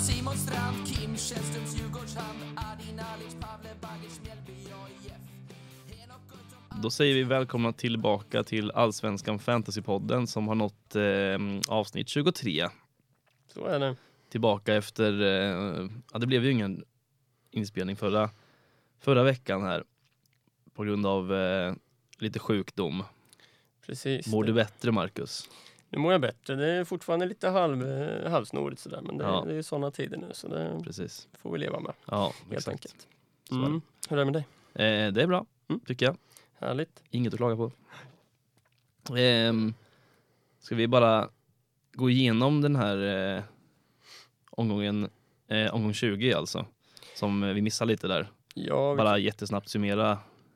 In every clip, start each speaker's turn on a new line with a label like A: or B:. A: Simon Strand, Kim Källströms Djurgårdshamn, Adin Alic, Pavle Bagic, Mjällby, AIF. Henok Goitom,
B: Då säger vi välkomna tillbaka till Allsvenskan Fantasypodden som har nått eh, avsnitt 23.
C: Så är det.
B: Tillbaka efter, eh, ja det blev ju ingen inspelning förra, förra veckan här på grund av eh, lite sjukdom.
C: Precis.
B: Mår du bättre Marcus?
C: Nu mår jag bättre. Det är fortfarande lite halv, eh, halvsnårigt sådär. Men det,
B: Ja.
C: det är ju sådana tider nu så det
B: Precis.
C: får vi leva med
B: Ja,
C: helt
B: exakt.
C: enkelt.
B: är det.
C: Mm. Hur är det med dig?
B: Eh, det är bra,
C: Mm.
B: tycker jag.
C: Härligt.
B: Inget att klaga på. Ehm, ska vi bara gå igenom den här eh, omgången, eh, omgång 20 alltså, som eh, vi missade lite där.
C: Ja vi,
B: Bara jättesnabbt summera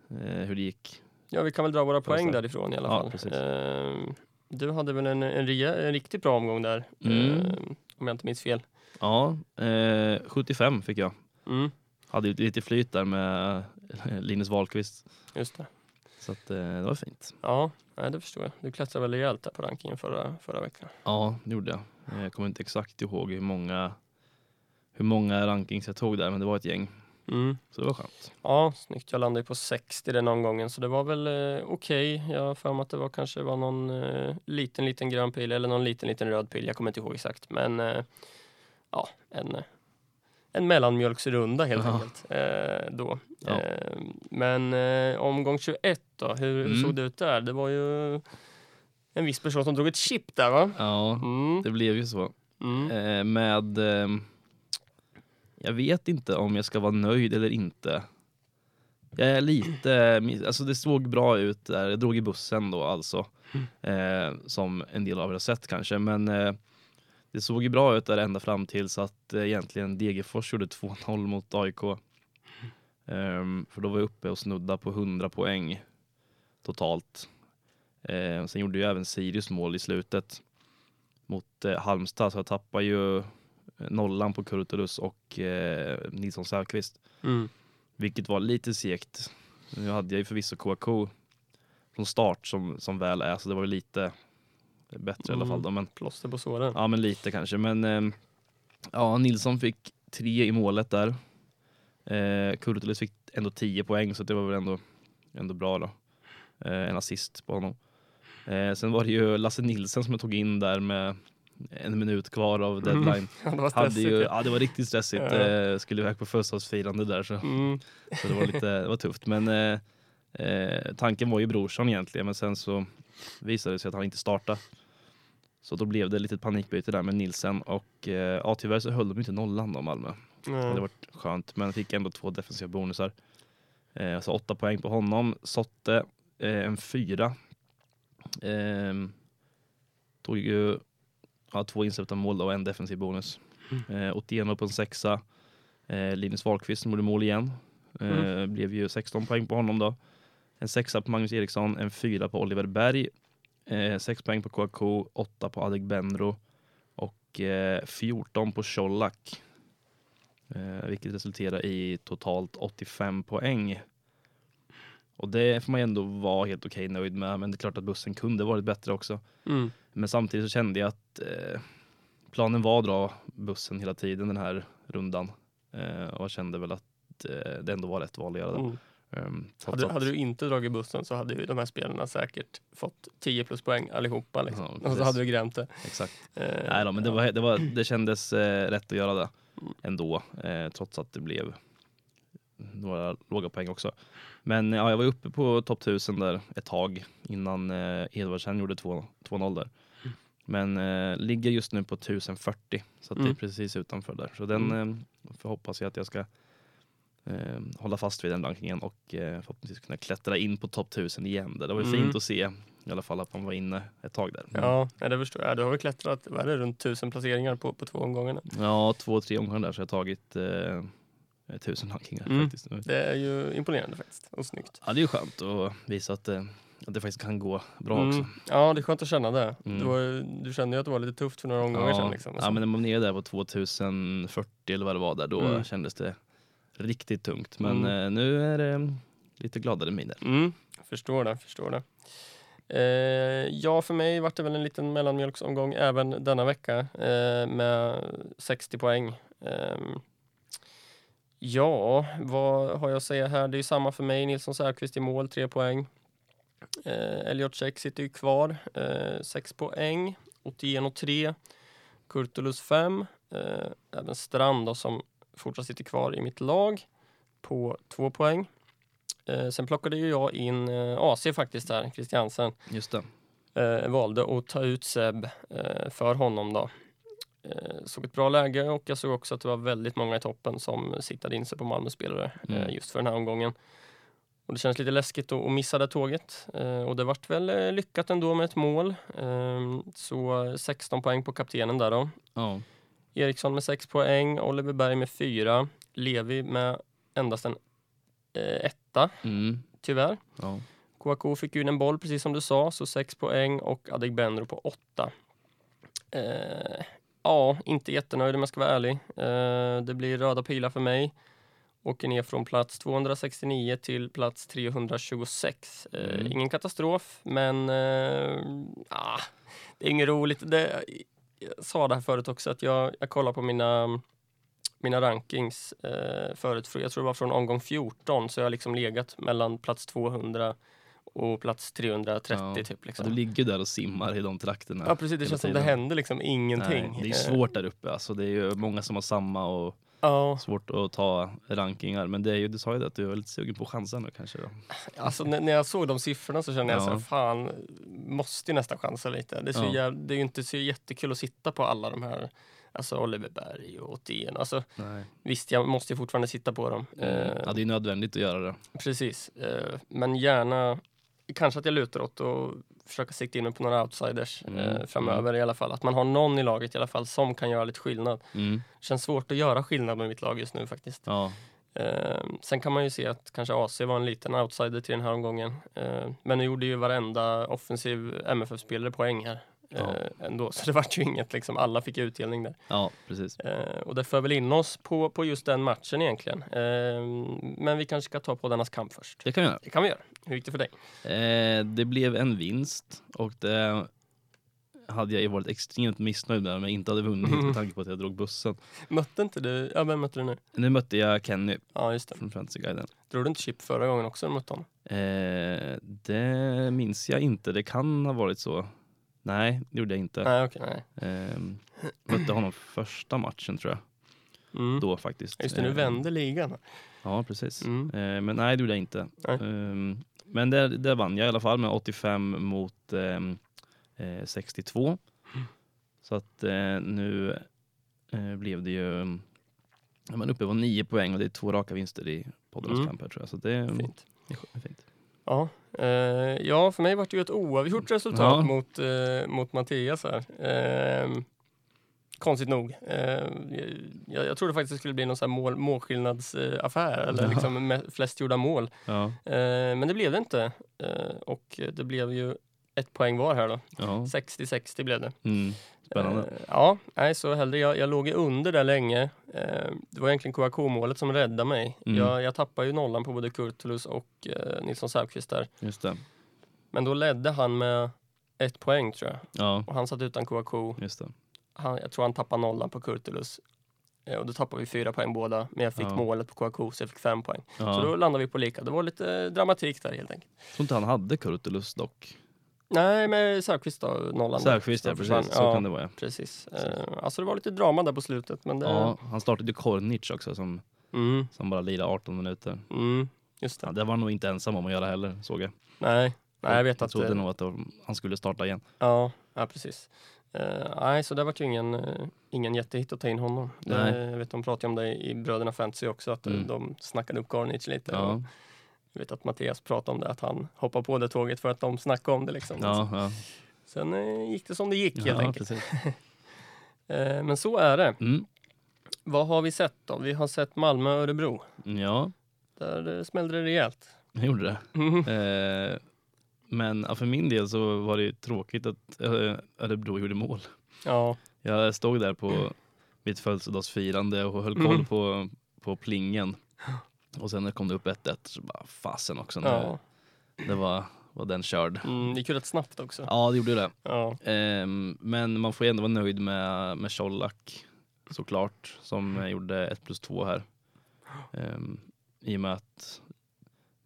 B: eh, hur det gick.
C: ja, vi kan väl dra våra poäng därifrån i alla
B: Ja,
C: fall.
B: precis.
C: Ehm, du hade väl en, en, rejä- en riktigt bra omgång där,
B: Mm.
C: ehm, om jag inte minns fel.
B: Ja, eh, 75 fick jag.
C: Mm.
B: Hade ju lite flyt där med eh, Linus Wahlqvist.
C: Just det.
B: Så att, eh, det var fint.
C: Ja, nej, det förstår jag. Du klättrade väl rejält där på rankingen förra, förra veckan.
B: Ja, det gjorde jag. Eh, Jag kommer inte exakt ihåg hur många, hur många rankings jag tog där, men det var ett gäng.
C: Mm.
B: Så det var skönt.
C: Ja, snyggt. Jag landade ju på 60 den omgången, så det var väl eh, okej. Jag har för mig att det var kanske var någon eh, liten, liten grön pil eller någon liten, liten röd pil. Jag kommer inte ihåg exakt, men eh, ja, en, eh, en mellanmjölksrunda helt
B: Ja.
C: enkelt eh, då.
B: Ja.
C: Eh, men eh, omgång 21 då, hur, hur
B: Mm.
C: såg det ut där? Det var ju en viss person som drog ett chip där, va?
B: Ja,
C: Mm.
B: det blev ju så.
C: Mm.
B: Eh, med... ehm, jag vet inte om jag ska vara nöjd eller inte. Jag är lite... miss- Alltså det såg bra ut där. Jag drog i bussen då alltså. Eh, som en del av er har sett kanske. Men eh, det såg ju bra ut där ända fram tills att eh, egentligen Degerfors gjorde 2-0 mot AIK. Ehm, för då var jag uppe och snudda på 100 poäng totalt. Eh, sen gjorde ju även Sirius mål i slutet mot eh, Halmstad så jag tappar ju eh, nollan på Kurtulus och eh, Nilsson Säfqvist.
C: Mm.
B: Vilket var lite segt. Nu hade jag ju förvisso KK från start som, som väl är så det var ju lite bättre i alla
C: Mm.
B: fall då. Men,
C: Plåster på såren.
B: ja men lite kanske. Men ehm, ja, Nilsson fick tre i målet där. Eh, Kurtulus fick ändå 10 poäng så det var väl ändå, ändå bra då. Eh, en assist på honom. Eh, sen var det ju Lasse Nilsson som jag tog in där med en minut kvar av deadline.
C: Ja, det var
B: Hade
C: Mm. stressigt.
B: ju,
C: ju.
B: ja, det var riktigt stressigt.
C: Ja.
B: Eh, skulle iväg på födelsedagsfirande där så,
C: Mm.
B: så det var lite det var tufft. Men eh, eh, tanken var ju brorsan egentligen men sen så visade det sig att han inte startade. Så då blev det ett litet panikbyte där med Nilsen och eh, ja, tyvärr så höll de inte nollan då Malmö.
C: Ja.
B: Det var skönt men fick ändå två defensiva bonusar. Eh, så åtta poäng på honom. Sotte eh, en fyra. Ehm, tog ju ja, två insläppta mål då och en defensiv bonus. Eh, Otieno på en sexa. Eh, Linus Wahlqvist som gjorde mål igen. Eh, Blev ju 16 poäng på honom då. En sexa på Magnus Eriksson, en fyra på Oliver Berg. Eh, sex poäng på KK, åtta på Adegbenro och eh, 14 på Colak. Eh, vilket resulterar i totalt 85 poäng. Och det får man ju ändå vara helt okej nöjd med, men det är klart att bussen kunde varit bättre också.
C: Mm.
B: Men samtidigt så kände jag att eh, planen var att dra bussen hela tiden den här rundan. Eh, och jag kände väl att eh, det ändå var rätt val att göra det.
C: Mm.
B: Ehm, trots
C: Hade,
B: att-
C: hade du inte dragit bussen så hade ju de här spelarna säkert fått 10 plus poäng allihopa. Liksom.
B: Ja,
C: och
B: precis.
C: så hade du grämt det.
B: Exakt.
C: Eh,
B: Nej då, men det,
C: ja.
B: var, det, var, det kändes eh, rätt att göra det ändå, eh, trots att det blev några låga poäng också. Men eh, ja, jag var uppe på topp 1000 där ett tag innan eh, Edvardsen gjorde 2 2-0 där. Men eh, ligger just nu på 1040, så att det är
C: Mm.
B: precis utanför där. Så den eh, får hoppas jag att jag ska eh, hålla fast vid den rankingen och eh, förhoppningsvis kunna klättra in på topp 1000 igen. Där. Det var ju
C: Mm.
B: fint att se i alla fall att man var inne ett tag där.
C: Ja, nej, det förstår jag. Du har väl klättrat vad är det, runt tusen placeringar på, på två omgångar nu.
B: Ja, två, tre omgångar där så jag har tagit eh, tusen rankingar
C: Mm.
B: faktiskt.
C: Det är ju imponerande faktiskt. Och snyggt.
B: Ja, det är ju skönt att visa att, eh, att det faktiskt kan gå bra
C: Mm.
B: också.
C: Ja, det är skönt att känna det.
B: Mm.
C: Du, var, du kände ju att det var lite tufft för några omgångar
B: Ja,
C: sedan. Liksom, och
B: ja,
C: så.
B: men när man är där på 2040 eller vad det var där, då
C: Mm.
B: kändes det riktigt tungt. Men
C: Mm.
B: eh, nu är det lite gladare miner.
C: mm, förstår det, förstår det. Eh, ja, för mig vart det väl en liten mellanmjölksomgång även denna vecka eh, med 60 poäng. Ehm, ja, vad har jag att säga här? Det är ju samma för mig. Nilsson Säfqvist i mål, 3 poäng. Eh, Elliot Cech sitter ju kvar, 6 poäng. Otieno 3. Kurtulus 5. Eh, även Strand då, som fortsatt sitter kvar i mitt lag på 2 poäng. Eh, sen plockade ju jag in eh, AC faktiskt här, Christiansen.
B: Just det.
C: Eh, valde att ta ut Seb eh, för honom då. Eh, såg ett bra läge och jag såg också att det var väldigt många i toppen som siktade in sig på Malmö-spelare
B: Mm.
C: eh, just för den här omgången. Och det känns lite läskigt att att missa det tåget eh, och det vart väl eh, lyckat ändå med ett mål. Eh, så eh, 16 poäng på kaptenen där då.
B: Ja.
C: Eriksson med 6 poäng, Oliver Berg med 4, Levi med endast en eh, etta,
B: Mm.
C: tyvärr.
B: ja.
C: Kouakou fick ju in en boll, precis som du sa, så 6 poäng och Adegbenro på 8. Eh, ja, inte jättenöjd om jag ska vara ärlig. Eh, det blir röda pilar för mig. Åker ner från plats 269 till plats 326. Eh,
B: Mm.
C: Ingen katastrof, men eh, ah, det är inget roligt. Det, jag sa det här förut också, att jag, jag kollar på mina mina rankings eh, förut, för- jag tror det var från omgång 14, så jag har liksom legat mellan plats 200 och plats 330
B: Ja.
C: typ.
B: ja.
C: Liksom.
B: Du ligger där och simmar i de trakterna.
C: Ja precis, det
B: hela
C: känns som det
B: tiden.
C: händer liksom ingenting.
B: Nej, det är ju
C: Eh,
B: svårt där uppe. Alltså, det är ju många som har samma och
C: Ja,
B: svårt att ta rankingar. Men det är ju, du sa ju det, att du är lite sugen på att chansa nu kanske. Då.
C: alltså när, när jag såg de siffrorna så kände jag
B: Ja.
C: så här, fan, måste ju nästan chansa lite. Det är, så
B: Ja.
C: jäv, det är ju inte så jättekul att sitta på alla de här, alltså Oliver Berg och Othén. Alltså
B: Nej.
C: visst, jag måste ju fortfarande sitta på dem. Eh,
B: Ja, det är nödvändigt att göra det.
C: Precis, eh, men gärna kanske att jag lutar åt och försöka sikta in mig på några outsiders
B: Mm,
C: eh, framöver i alla fall. Att man har någon i laget i alla fall som kan göra lite skillnad.
B: Mm.
C: Känns svårt att göra skillnad med mitt lag just nu faktiskt.
B: Ja.
C: Eh, sen kan man ju se att kanske AC var en liten outsider till den här omgången. Eh, men nu gjorde ju varenda offensiv MFF-spelare poäng här. eh,
B: Ja.
C: Ändå, så det vart ju inget liksom. Alla fick ju utdelning där.
B: ja, precis.
C: Eh, och det för väl in oss på, på just den matchen egentligen. Eh, men vi kanske ska ta på dennas kamp först.
B: Det kan jag göra.
C: Det kan vi göra. Hur gick det för dig?
B: Eh, det blev en vinst och det hade jag ju varit extremt missnöjd med om jag inte hade vunnit med tanke på att jag drog bussen.
C: Mötte inte du, ja vem mötte du nu?
B: Nu mötte jag Kenny
C: Ja just det.
B: från Fantasyguiden.
C: Drog du inte chip förra gången också när du mötte honom?
B: Eh, det minns jag inte. Det kan ha varit så. Nej, det gjorde jag inte.
C: Nej okej, nej.
B: Eh, mötte honom första matchen tror jag.
C: Mm.
B: Då faktiskt.
C: Just det, nu
B: Eh,
C: vände ligan.
B: Ja, precis.
C: Mm.
B: Eh, men nej, det gjorde jag inte.
C: Nej.
B: Ehm, men där, där vann jag i alla fall med 85 mot ehm, eh, 62. Så att eh, nu eh, blev det ju mm, ja, men uppe på 9 poäng och det är två raka vinster i poddarnas
C: Mm.
B: kamp här tror jag. Så det är mm,
C: Fint.
B: det är sk- fint.
C: Ja, eh, ja för mig var det ju ett oavgjort resultat
B: Ja.
C: mot, eh, mot Mattias här. Eh, konstigt nog. Eh, jag, jag trodde faktiskt det skulle bli någon sån här mål, målskillnadsaffär eller
B: Ja.
C: liksom med flest gjorda mål.
B: Ja,
C: Eh, men det blev det inte. Eh, och det blev ju ett poäng var här då.
B: ja.
C: 60-60 blev det.
B: Mm. Spännande.
C: Eh, ja, nej, så hellre. Jag, jag låg ju under där länge. Eh, det var egentligen Kouakou-målet som räddade mig.
B: Mm.
C: Jag, jag tappade ju nollan på både Kurtulus och eh, Nilsson Säfqvist där.
B: Just det.
C: Men då ledde han med ett poäng tror jag.
B: Ja,
C: Och han satt utan Kouakou.
B: just det.
C: Han, jag tror han tappade nollan på Kurtulus. Eh, och då tappade vi fyra poäng båda. Men jag fick
B: Ja.
C: målet på Kouakou så jag fick fem poäng.
B: Ja.
C: Så då
B: Jag
C: landade vi på lika. Det var lite eh, dramatik där helt enkelt.
B: tror inte han hade Kurtulus dock.
C: Nej, men Säfqvist då, nollan. där.
B: Särskilt, ja
C: Så försvann.
B: precis. Så
C: Ja.
B: kan det vara ja.
C: Precis. Eh, alltså det var lite drama där på slutet. Men det...
B: ja. Han startade ju Kornic också som,
C: Mm,
B: som bara lirade 18 minuter.
C: mm, just det.
B: Ja, det var han nog inte ensam om att göra heller, såg jag.
C: Nej, nej jag vet
B: jag
C: att...
B: trodde
C: eh,
B: nog att de, han skulle starta igen.
C: Ja, ja precis. Eh, nej, så det var ju ingen, eh, ingen jättehit att ta in honom. Det,
B: Nej.
C: jag vet, de pratade om det i Bröderna Fantasy också, att eh,
B: Mm.
C: de snackade upp Garnic lite. Och
B: Ja,
C: jag vet att Mattias pratade om det, att han hoppade på det tåget för att de snackade om det. Liksom.
B: ja, ja.
C: Sen eh, gick det som det gick helt
B: ja
C: enkelt.
B: precis.
C: Eh, men så är det.
B: Mm.
C: Vad har vi sett då? Vi har sett Malmö och Örebro.
B: Ja,
C: Där eh, smällde det rejält.
B: jag gjorde det.
C: Mm.
B: Eh, men ja, för min del så var det ju tråkigt att eh, Örebro gjorde mål.
C: Ja,
B: Jag stod där på mitt födelsedagsfirande och höll
C: Mm.
B: koll på, på plingen. Och sen när det kom det upp 1-1 så bara fasen också. Nu,
C: ja.
B: Det var, var den körd.
C: Mm, det gick ju rätt snabbt också.
B: Ja, det gjorde ju det.
C: Ja.
B: Ehm, men man får ju ändå vara nöjd med, med Colak såklart, som eh, gjorde 1 plus 2 här. Ehm, I och med att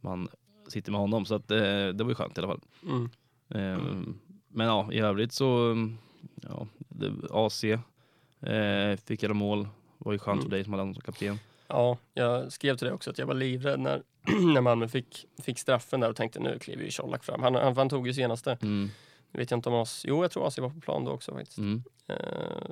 B: man sitter med honom, så att, eh, det var ju skönt i alla fall.
C: Mm.
B: Ehm, Men ja, i övrigt så, mm, ja, det, AC eh, fick göra mål. var ju skönt för
C: Mm.
B: dig som hade honom som kapten.
C: ja, jag skrev till dig också att jag var livrädd när, när Malmö fick, fick straffen där och tänkte nu kliver ju Colak fram. Han, han, han tog ju senaste.
B: Mm,
C: Nu vet jag inte om AC, jo jag tror AC var på plan då också faktiskt.
B: mm,
C: Eh,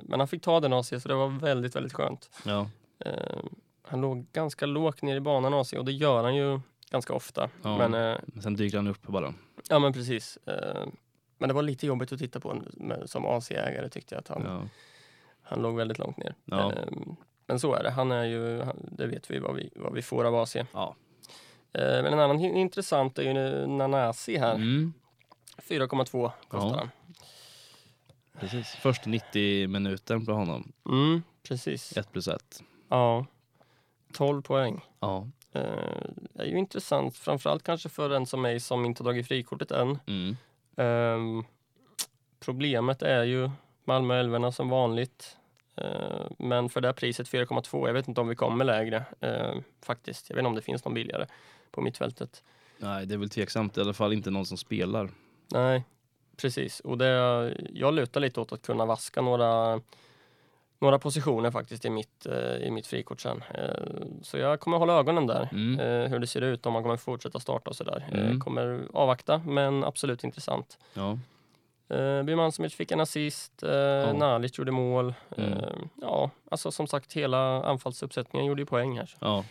C: men han fick ta den AC så det var väldigt, väldigt skönt.
B: ja,
C: Eh, han låg ganska lågt ner i banan AC och det gör han ju ganska ofta.
B: Ja.
C: Men, eh,
B: men sen dyker han upp bara.
C: ja men precis. Eh, men det var lite jobbigt att titta på med, som AC-ägare tyckte jag att han,
B: Ja,
C: han låg väldigt långt ner.
B: Ja.
C: Eh, men så är det, han är ju, han, det vet vi vad, vi vad vi får av AC. Eh,
B: ja.
C: men en annan hi- intressant är ju nu Nanasi här.
B: Mm,
C: 4,2 kostar
B: Ja.
C: han.
B: precis. Först 90 minuten på honom,
C: Mm, precis.
B: 1 plus 1.
C: Ja. 12 poäng.
B: Ja,
C: Eh, det är ju intressant, framförallt kanske för en som mig som inte har tagit frikortet än.
B: mm,
C: Ehm, problemet är ju Malmö och älvorna som vanligt. Eh, men för det här priset 4,2, jag vet inte om vi kommer lägre eh, faktiskt. Jag vet inte om det finns någon billigare på mittfältet.
B: nej det är väl tveksamt, i alla fall inte någon som spelar.
C: Nej, precis. Och det, jag lutar lite åt att kunna vaska några några positioner faktiskt i mitt, eh, i mitt frikort sen. Eh, Så jag kommer hålla ögonen där.
B: Mm,
C: eh, hur det ser ut, om man kommer fortsätta starta och sådär. Eh,
B: Mm.
C: kommer avvakta, men absolut intressant.
B: ja,
C: Eh, Birmancevic fick en assist, eh, Nalic gjorde mål.
B: Mm.
C: Eh, ja, alltså som sagt, hela anfallsuppsättningen gjorde ju poäng här. Så
B: ja,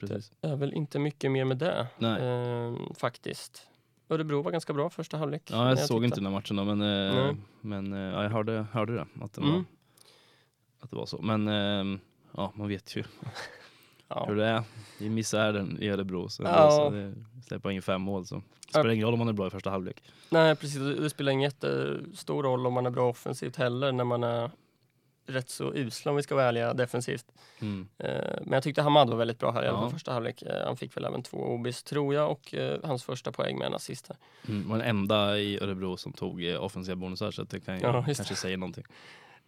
B: precis.
C: det är väl inte mycket mer med det,
B: Nej.
C: eh, faktiskt. Örebro var ganska bra första halvlek.
B: Ja,
C: när
B: jag såg inte
C: tittade.
B: den här matchen då, men, eh,
C: Nej.
B: men eh, ja, jag hörde, hörde det, att det, var,
C: Mm.
B: att det var så. Men eh, ja, man vet ju hur
C: Ja.
B: det är. Vi missar den i Örebro, så,
C: Ja.
B: så det släpper in fem mål. Så. Det spelar ingen roll om man är bra i första halvlek.
C: Nej, precis. Det det spelar ingen jättestor roll om man är bra offensivt heller, när man är rätt så usla om vi ska vara ärliga defensivt.
B: Mm.
C: Eh, Men jag tyckte Hamad var väldigt bra här i alla
B: Ja.
C: fall första halvlek. Eh, Han fick väl även två obis tror jag och eh, hans första poäng med en assist här.
B: Mm. Var den enda i Örebro som tog eh, offensiva bonusar, så att det kan ju
C: Ja, just
B: kanske säga någonting.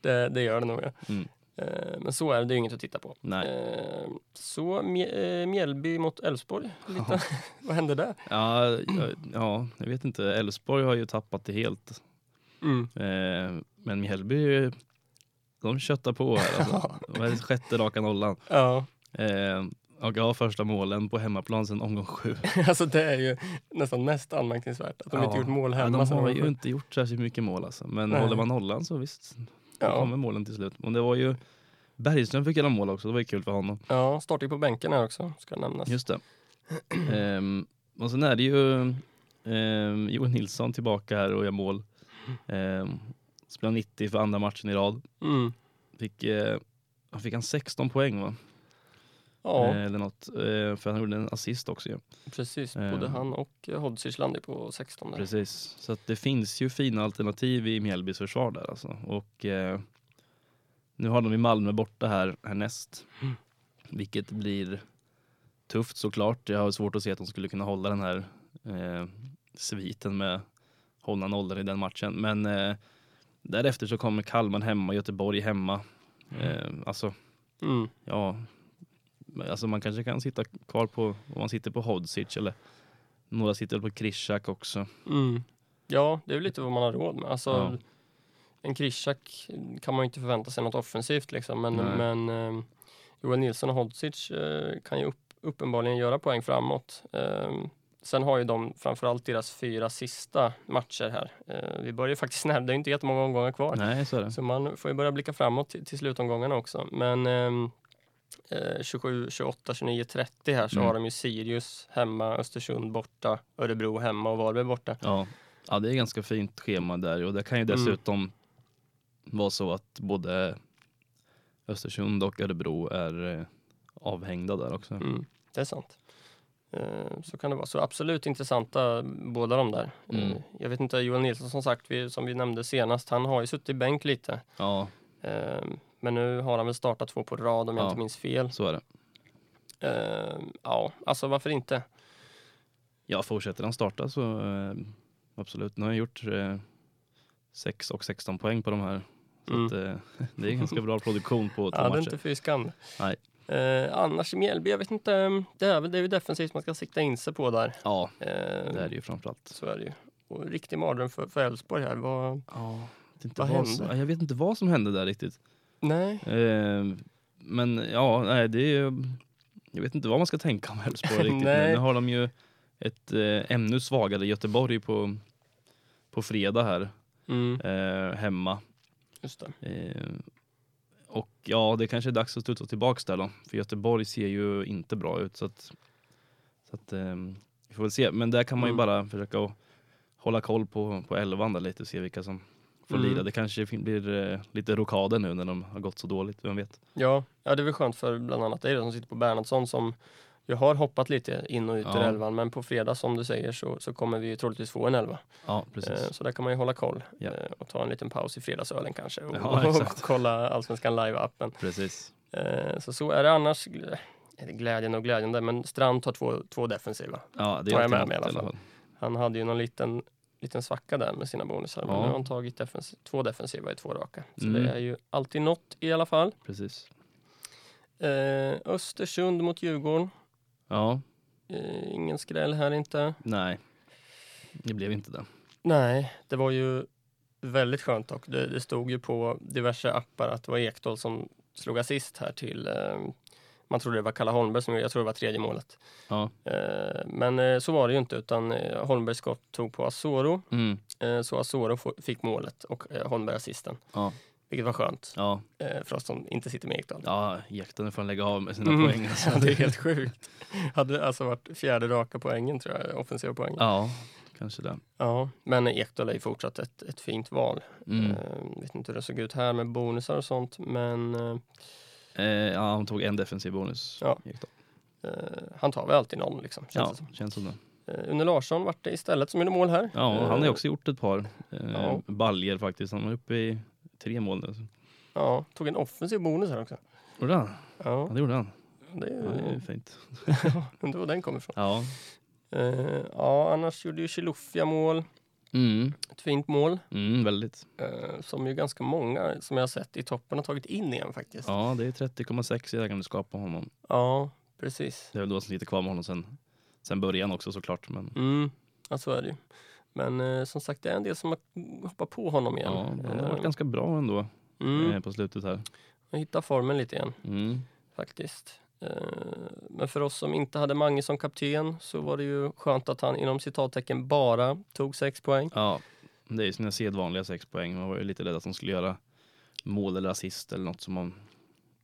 C: Det, det gör det nog. ja.
B: Mm.
C: Eh, Men så är det, det är ju inget att titta på.
B: Nej.
C: Eh, Så Mj- eh, Mjällby mot Elfsborg, lite. vad hände där?
B: Ja, jag- ja, jag vet inte. Elfsborg har ju tappat det helt.
C: Mm.
B: Eh, men Mjällby, de köttar på här. Alltså. Vad är det, sjätte raka nollan.
C: Ja,
B: Eh, och ja, första målen på hemmaplan sedan omgång sju.
C: alltså det är ju nästan mest anmärkningsvärt att de
B: Ja.
C: inte gjort mål
B: Ja,
C: hemma.
B: de
C: sen
B: har
C: de-
B: ju inte gjort särskilt mycket mål alltså. Men
C: Nej.
B: håller man nollan så visst, då
C: ja.
B: kommer målen till slut. Men det var ju Bergström fick göra mål också, det var ju kul för honom.
C: ja, startar ju på bänken här också, ska nämnas.
B: Just det. Ehm, och sen är det ju ehm, Johan Nilsson tillbaka här och gör mål. Ehm, spelar 90 för andra matchen i rad.
C: Mm.
B: Fick, eh, han fick han 16 poäng va?
C: Ja,
B: Eh, eller något. Eh, för han gjorde en assist också ju.
C: precis.
B: eh.
C: Både han och eh, Hodzic landade på 16 där.
B: Precis, så att det finns ju fina alternativ i Mjällbys försvar där alltså. Och eh, nu har de i Malmö borta här härnäst. Vilket blir tufft såklart. Jag har svårt att se att de skulle kunna hålla den här eh, sviten med hålla nollan i den matchen. Men eh, därefter så kommer Kalmar hemma, Göteborg hemma. Eh, alltså,
C: Mm.
B: ja. men Alltså man kanske kan sitta kvar på, om man sitter på Hodzic eller några sitter på Krishak också.
C: Mm. Ja, det är väl lite vad man har råd med. Alltså,
B: Ja.
C: En Krishak kan man ju inte förvänta sig något offensivt liksom, men,
B: Nej.
C: men eh, Joel Nilsson och Hodzic eh, kan ju upp, uppenbarligen göra poäng framåt. Eh, sen har ju de framförallt deras fyra sista matcher här. Eh, vi börjar ju faktiskt närma, det är ju inte jättemånga omgångar kvar.
B: Nej, så är det.
C: Så man får ju börja blicka framåt till, till slutomgångarna också. Men ehm, eh, 27, 28, 29, 30 här så
B: Mm.
C: har de ju Sirius hemma, Östersund borta, Örebro hemma och Varberg borta.
B: Ja. ja, det är ganska fint schema där och det kan ju
C: Mm.
B: dessutom vara så att både Östersund och Örebro är eh, avhängda där också.
C: Mm, det är sant. Eh, Så kan det vara. Så absolut intressanta båda de där. Eh,
B: Mm.
C: Jag vet inte, Joel Nilsson som sagt, vi, som vi nämnde senast, han har ju suttit i bänk lite.
B: Ja,
C: Eh, Men nu har han väl startat två på rad om jag
B: Ja.
C: inte minns fel. Ehm,
B: så är det.
C: Eh, Ja, alltså varför inte?
B: Ja, fortsätter han starta så eh, absolut. Nu har jag gjort eh, 6 och 16 poäng på de här. Så
C: Mm.
B: att, eh, det är ganska bra produktion på två
C: Ja, det är
B: matcher.
C: inte fy skam.
B: Nej.
C: Eh, annars i Mjällby, jag vet inte. Det är, väl- det är ju defensivt man ska sikta in sig på där.
B: Ja,
C: Eh,
B: det är det ju framförallt.
C: Så är det ju. Och riktig mardröm för för Elfsborg här. Vad...
B: Ja, jag vet inte
C: Vad
B: vad,
C: hände?
B: som, jag vet inte vad som hände där riktigt.
C: Nej,
B: Eh, men ja, nej, det är ju- Jag vet inte vad man ska tänka om Elfsborg riktigt.
C: Nej.
B: Men nu har de ju ett eh, ännu svagare Göteborg på, på fredag här,
C: mm,
B: eh, hemma.
C: just det.
B: Eh, och ja, det kanske är dags att studsa tillbaks där då. För Göteborg ser ju inte bra ut. Så att, så att eh, vi får väl se. Men där kan man ju
C: Mm.
B: bara försöka att hålla koll på, på elvan där lite och se vilka som får
C: Mm.
B: lira. Det kanske fin- blir eh, lite rokader nu när de har gått så dåligt, vem vet?
C: Ja, ja, det är väl skönt för bland annat dig då som sitter på Bernhardsson som jag har hoppat lite in och ut ur
B: Ja.
C: elvan, men på fredag som du säger så, så kommer vi ju troligtvis få en elva.
B: Ja, precis.
C: Eh, Så där kan man ju hålla koll
B: Ja.
C: eh, och ta en liten paus i fredagsölen kanske och,
B: Ja,
C: och
B: exakt.
C: kolla Allsvenskan live-appen.
B: precis.
C: Eh, Så så är det annars. Gl- är det Glädjen och glädjande, men Strand tar två, två defensiva.
B: Ja, det
C: Tar
B: är
C: jag
B: alltid
C: med mig
B: något
C: i alla fall. Han hade ju någon liten, liten svacka där med sina bonusar, men
B: Ja.
C: nu har han tagit defens- två defensiva i två raka. Så
B: Mm.
C: det är ju alltid något i alla fall.
B: Precis.
C: Eh, Östersund mot Djurgården.
B: Ja,
C: Eh, ingen skräll här inte.
B: nej. Det blev inte det.
C: Nej, det var ju väldigt skönt dock. Det, det stod ju på diverse appar att det var Ekdal som slog assist här till, eh, man trodde det var Kalle Holmberg som gjorde- jag tror det var tredje målet.
B: Ja.
C: Eh, men eh, så var det ju inte utan eh, Holmbergs skott tog på Asoro,
B: Mm.
C: eh, så Asoro få- fick målet och eh, Holmberg assisten.
B: Ja,
C: Vilket var skönt
B: ja,
C: eh, för oss som inte sitter med Ekdal.
B: ja, jäkten får lägga av med sina
C: Mm.
B: poäng. Alltså.
C: Ja, det är helt sjukt. Hade alltså varit fjärde raka poängen tror jag, offensiva poängen. Ja.
B: Ja, kanske det.
C: men Ekdal är ju fortsatt ett, ett fint val.
B: Mm.
C: Eh, vet inte hur det såg ut här med bonusar och sånt, men eh,
B: Eh, ja, han tog en defensiv bonus.
C: Ja.
B: Gick då.
C: eh, han tar väl alltid någon liksom. Känns
B: ja
C: det som.
B: känns som det.
C: Eh, Une Larsson vart det istället som gjorde mål här.
B: Ja, och han har
C: Eh,
B: ju också gjort ett par eh,
C: ja.
B: baljer faktiskt. Han var uppe i tre mål nu.
C: Ja, tog en offensiv bonus här också.
B: Gjorde han? Ja,
C: Ja,
B: det gjorde han.
C: det
B: Ja, det är
C: är
B: ju fint.
C: undrar var den kommer ifrån.
B: Ja.
C: Eh, ja, annars gjorde ju Chilufya mål,
B: Mm,
C: ett fint mål,
B: mm, väldigt.
C: eh, som ju ganska många som jag har sett i toppen har tagit in igen faktiskt. Ja,
B: Ja, det är 30,6 i ägandeskap på honom.
C: precis.
B: Det är väl då som sitter kvar med honom sen, sen början också såklart. Men
C: Mm, ja, så är det ju. Men eh, som sagt, det är en del som har hoppat på honom igen.
B: ja, han har
C: Eh,
B: varit ganska bra ändå
C: mm.
B: eh, på slutet här.
C: Jag hittar formen lite igen
B: Mm.
C: faktiskt. Eh, Men för oss som inte hade Mange som kapten så var det ju skönt att han inom citattecken bara tog sex poäng.
B: Ja, det är ju sina sedvanliga sex poäng. Man var ju lite rädd att de skulle göra mål eller assist eller något som man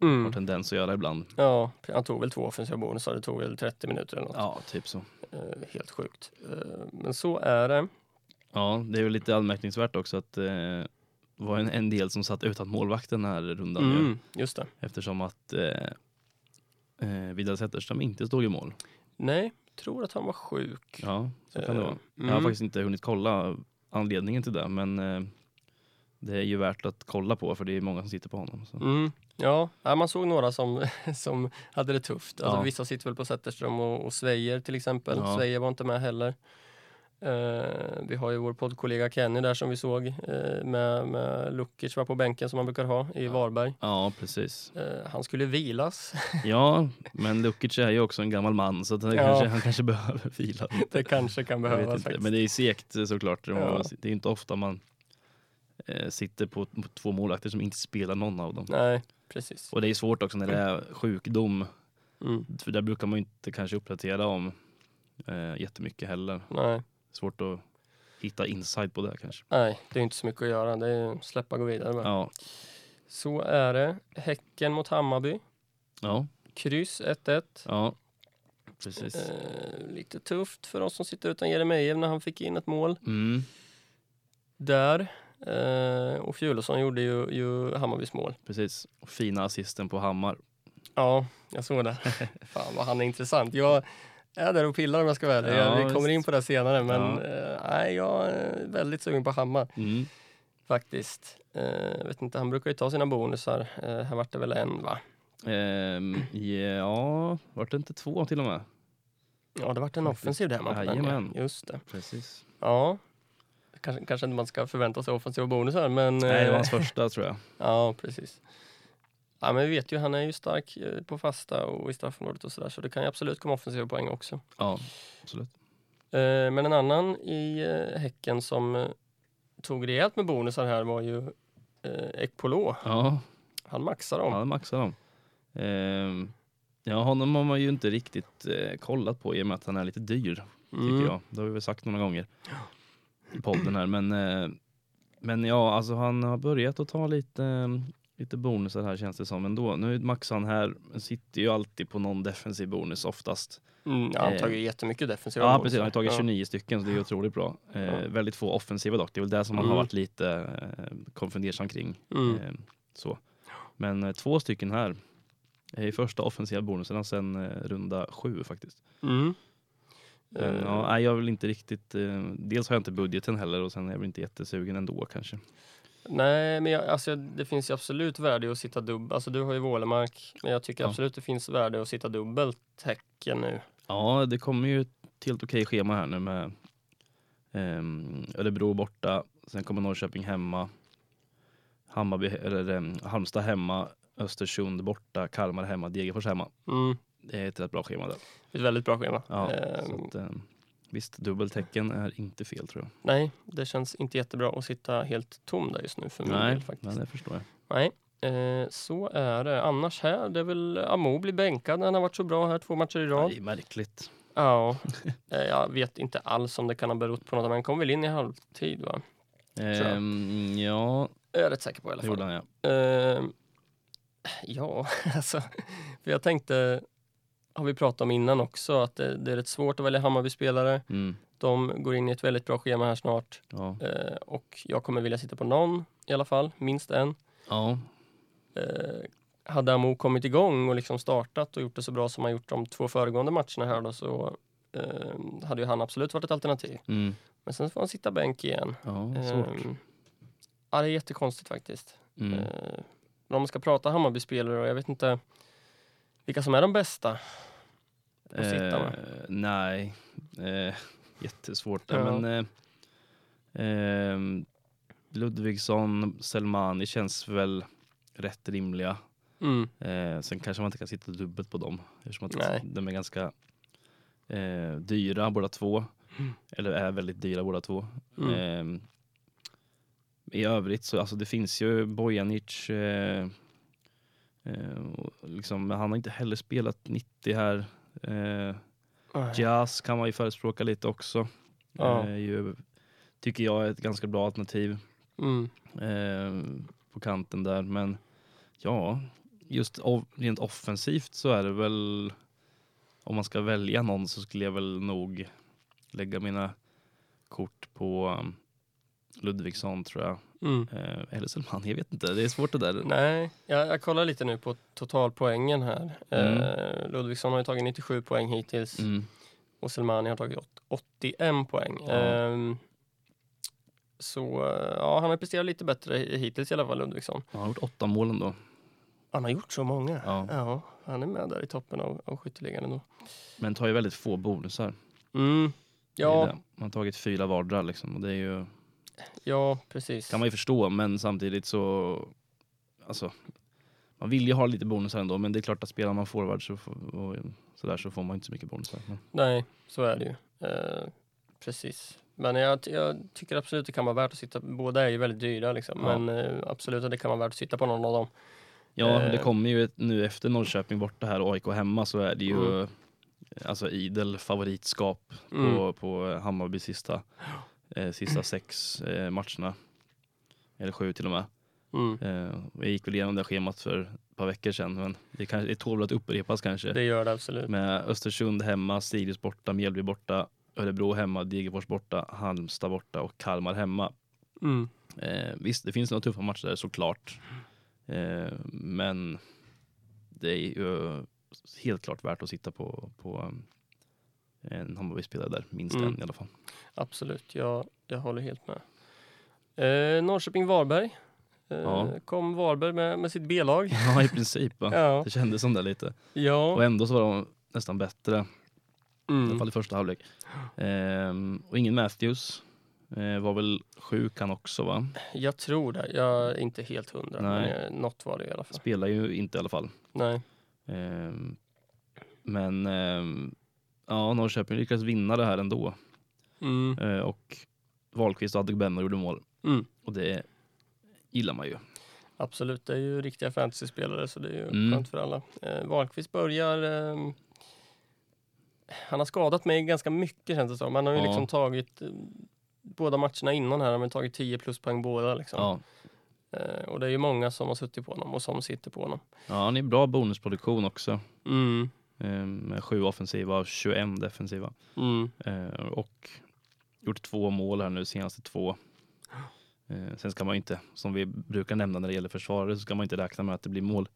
B: har
C: Mm.
B: tendens att göra ibland.
C: Ja, han tog väl två offensiva bonusar, det tog väl 30 minuter eller något.
B: Ja, typ så.
C: Eh, Helt sjukt. Eh, Men så är det.
B: Ja, det är väl lite anmärkningsvärt också att eh, det var en, en del som satt utan målvakten den här rundan nu,
C: Mm, just det.
B: eftersom att eh, eh, Vidar Zetterström inte stod i mål.
C: Nej, tror att han var sjuk.
B: Ja, så kan det
C: Eh,
B: vara. Jag har
C: Mm.
B: faktiskt inte hunnit kolla anledningen till det, men eh, det är ju värt att kolla på för det är många som sitter på honom. Så.
C: Mm. Ja, ja, man såg några som, som hade det tufft. Alltså,
B: Ja.
C: Vissa sitter väl på Zetterström och, och Svejer till exempel.
B: Ja.
C: Svejer var inte med heller. Eh, vi har ju vår poddkollega Kenny där som vi såg eh, med, med Lukic var på bänken som man brukar ha i Varberg.
B: Ja, precis.
C: Eh, han skulle vilas.
B: Ja, men Lukic är ju också en gammal man så att han,
C: Ja.
B: kanske, han kanske behöver vila.
C: det kanske kan
B: Jag vet
C: behövas
B: inte.
C: faktiskt.
B: Men det är segt eh, såklart. Det
C: Ja.
B: är ju inte ofta man eh, sitter på t- två målvakter som inte spelar någon av dem.
C: Nej, precis.
B: Och det är svårt också när det är sjukdom.
C: Mm.
B: För där brukar man ju inte kanske uppdatera om eh, jättemycket heller.
C: Nej,
B: Svårt att hitta insight på det kanske.
C: nej, det är inte så mycket att göra. Det är släppa gå vidare bara.
B: Ja,
C: Så är det. Häcken mot Hammarby.
B: ja,
C: Kryss 1-1.
B: ja. Precis.
C: Eh, lite tufft för oss som sitter utan Jeremejeff när han fick in ett mål
B: Mm,
C: där. Eh, och Fjulesson gjorde ju, ju Hammarbys mål.
B: precis. Och Fina assisten på Hammar.
C: Ja, jag såg det. Fan vad han är intressant. Jag är där och pillar om jag ska vara ärlig.
B: Ja,
C: Jag- Vi kommer in
B: visst.
C: på det senare men
B: Ja.
C: eh, nej, jag är väldigt sugen på Hammar
B: Mm,
C: faktiskt. Eh, jag vet inte, han brukar ju ta sina bonusar. Eh, här vart det väl en va?
B: ehm, ja, vart det inte två till och med?
C: Ja, det vart en
B: Faktiskt.
C: offensiv där man på den.
B: Jajamän.
C: Ja. Just det.
B: Precis.
C: Ja. Kanske, kanske inte man ska förvänta sig offensiva bonusar, men...
B: Nej, det var
C: eh,
B: hans första tror jag.
C: Ja, precis. Ja, men vi vet ju, han är ju stark eh, på fasta och i straffområdet och sådär, så det kan ju absolut komma offensiva poäng också.
B: Ja, absolut.
C: Eh, Men en annan i eh, Häcken som eh, tog rejält med bonusar här var ju eh, Ekpolo.
B: Ja,
C: Han maxar dem.
B: han maxar dem. Ehm, ja, honom har man ju inte riktigt eh, kollat på i och med att han är lite dyr,
C: Mm.
B: tycker jag. Det har vi väl sagt några gånger i podden här. Men, eh, men ja, alltså han har börjat att ta lite, eh, lite bonusar här känns det som ändå. Nu maxar han här, men sitter ju alltid på någon defensiv bonus oftast.
C: Mm, ja, han
B: Eh,
C: tar ju jättemycket defensiva
B: Ja
C: bonusar.
B: precis, han har tagit
C: Ja.
B: 29 stycken så det är otroligt bra. Eh,
C: Ja.
B: Väldigt få offensiva dock, det är väl det som man
C: Mm.
B: har varit lite eh, konfundersam kring.
C: Mm.
B: Eh, så. Men eh, två stycken här är ju första offensiva bonuserna sen eh, runda sju faktiskt.
C: Mm.
B: Men,
C: Eh,
B: ja, nej, jag vill inte riktigt, eh, dels har jag inte budgeten heller och sen är jag väl inte jättesugen ändå kanske.
C: Nej, men jag, alltså, det finns ju absolut värde i att sitta dubbel. Alltså, du har ju Vålemark, men jag tycker
B: Ja.
C: absolut det finns värde i att sitta dubbelt Häcken nu.
B: Ja, det kommer ju ett helt okej schema här nu med ehm, Örebro borta, sen kommer Norrköping hemma, Hammarby, eller, ehm, Halmstad hemma, Östersund borta, Kalmar hemma, Degerfors hemma.
C: Mm.
B: Det är ett rätt bra schema där.
C: Ett väldigt bra schema.
B: Ja,
C: Eh,
B: så att, ehm, visst, dubbeltecken är inte fel tror jag.
C: Nej, det känns inte jättebra att sitta helt tom där just nu för min del faktiskt.
B: men det förstår jag.
C: Nej, eh, så är det. Annars här, det är väl Amo blir bänkad när han har varit så bra här två matcher i rad.
B: Det är märkligt.
C: Ja, eh, jag vet inte alls om det kan ha berott på något, men han kom väl in i halvtid va? jag.
B: Ehm, ja,
C: Jag är rätt säker på i alla
B: det
C: fall.
B: gjorde han ja.
C: Eh, ja, alltså, för jag tänkte, har vi pratat om innan också, att det, det är rätt svårt att välja Hammarby-spelare.
B: Mm,
C: De går in i ett väldigt bra schema här snart
B: ja.
C: eh, och jag kommer vilja sitta på någon i alla fall, minst en.
B: ja,
C: eh, hade Amo kommit igång och liksom startat och gjort det så bra som han gjort de två föregående matcherna här då så eh, hade ju han absolut varit ett alternativ.
B: mm,
C: Men sen får han sitta bänk igen.
B: ja, svårt.
C: Eh, ja, det är jättekonstigt faktiskt.
B: Mm.
C: Eh, men om man ska prata Hammarby-spelare och jag vet inte vilka som är de bästa. att sitta med?
B: Eh, nej, eh, jättesvårt.
C: Ja.
B: Ja. Men, eh, ehm, Ludvigsson, Selmani känns väl rätt rimliga.
C: Mm.
B: Eh, sen kanske man inte kan sitta dubbelt på dem eftersom att
C: Nej.
B: de är ganska eh, dyra båda två.
C: Mm.
B: Eller är väldigt dyra båda två.
C: Mm.
B: Ehm, I övrigt så alltså det finns ju Bojanic. Eh, eh, och liksom, men han har inte heller spelat 90 här. Eh, Jazz kan man ju förespråka lite också.
C: Ah, Ja.
B: Eh, ju, tycker jag är ett ganska bra alternativ
C: Mm.
B: eh, på kanten där. Men ja, just o- rent offensivt så är det väl om man ska välja någon så skulle jag väl nog lägga mina kort på um, Ludvigsson tror jag.
C: Mm.
B: Eh, eller Selman, jag vet inte. Det är svårt det där.
C: Nej, jag, jag kollar lite nu på totalpoängen här.
B: Mm.
C: Eh, Ludvigsson har ju tagit 97 poäng hittills.
B: Mm.
C: och Selmani har tagit åt- 81 poäng.
B: Ja.
C: Ehm, så eh, ja, han har presterat lite bättre hi- hittills i alla fall, Ludvigsson.
B: Han har gjort åtta mål ändå.
C: Han har gjort så många.
B: Ja.
C: han är med där i toppen av, av skytteligan ändå.
B: Men tar ju väldigt få bonusar.
C: Mm.
B: Det är
C: Ja,
B: det. Man har tagit fyra vardera liksom. Och det är ju
C: ja, precis.
B: kan man ju förstå, men samtidigt så... Alltså, man vill ju ha lite bonusar ändå, men det är klart att spelar man forward så, får- och sådär, så får man inte så mycket bonusar. Men,
C: Nej, så är det ju. Eh, precis. Men jag, jag tycker absolut det kan vara värt att sitta, båda är ju väldigt dyra liksom,
B: Ja.
C: men eh, absolut att det kan vara värt att sitta på någon av dem.
B: ja,
C: Eh.
B: det kommer ju ett, nu efter Norrköping borta här och AIK hemma så är det ju
C: Mm.
B: alltså idel favoritskap
C: Mm.
B: på, på Hammarby sista, eh, sista sex eh, matcherna. Eller sju till och med.
C: Mm.
B: Eh, jag gick väl igenom det schemat för ett par veckor sedan, men det, kanske, det tål väl att upprepas kanske.
C: Det gör det absolut.
B: Med Östersund hemma, Sirius borta, Mjällby borta, Örebro hemma, Degerfors borta, Halmstad borta och Kalmar hemma.
C: Mm.
B: Eh, visst, det finns några tuffa matcher där såklart. Eh, men det är ju helt klart värt att sitta på, på um, en Hammarby-spelare där, minst
C: Mm.
B: en i alla fall.
C: Absolut, jag, jag håller helt med. Eh, Norrköping-Varberg. Eh,
B: Ja.
C: Kom Varberg med, med sitt B-lag.
B: Ja, i princip. Va?
C: Ja,
B: Det kändes som det lite.
C: ja.
B: Och ändå så var de nästan bättre i alla
C: Mm.
B: fall i första halvlek. Ehm, och ingen Matthews. Eh, var väl sjuk han också va?
C: Jag tror det. Jag är inte helt hundra,
B: Nej.
C: men eh, något var det i alla fall.
B: Spelar ju inte i alla fall.
C: Nej.
B: Ehm, men ehm, ja, Norrköping lyckades vinna det här ändå.
C: Mm.
B: Eh, och Wahlqvist och Adegbenro gjorde mål.
C: Mm.
B: Och det gillar man ju.
C: Absolut, det är ju riktiga fantasyspelare så det är ju
B: Mm.
C: skönt för alla. Eh, Wahlqvist börjar... Eh, han har skadat mig ganska mycket känns det som. Han har ju
B: Ja.
C: liksom tagit... Eh, båda matcherna innan här har man tagit 10 pluspoäng båda. Liksom.
B: Ja.
C: Eh, och det är ju många som har suttit på honom och som sitter på honom.
B: ja, han är bra bonusproduktion också.
C: Mm.
B: Ehm, med sju offensiva och 21 defensiva.
C: Mm.
B: Eh, och gjort två mål här nu, senaste två. Eh, sen ska man ju inte, som vi brukar nämna när det gäller försvarare, så ska man inte räkna med att det blir mål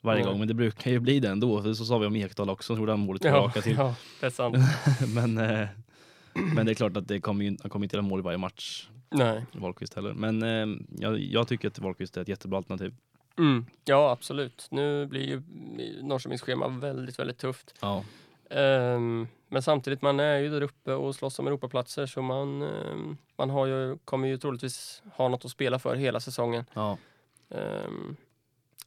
B: varje
C: Nej.
B: gång. Men det brukar ju bli det ändå. För så sa vi om Ekdal också, så gjorde han målet tillbaka till.
C: ja, det är sant.
B: men, eh, men det är klart att det kommer ju, han kommer inte göra mål i varje match,
C: Nej.
B: Wahlqvist heller. Men eh, jag, jag tycker att Wahlqvist är ett jättebra alternativ.
C: Mm. Ja, absolut. Nu blir ju Norrköpings schema väldigt, väldigt tufft.
B: Ja,
C: Ehm, men samtidigt, man är ju där uppe och slåss om Europaplatser så man, ehm, man har ju, kommer ju troligtvis ha något att spela för hela säsongen.
B: ja.
C: Ehm,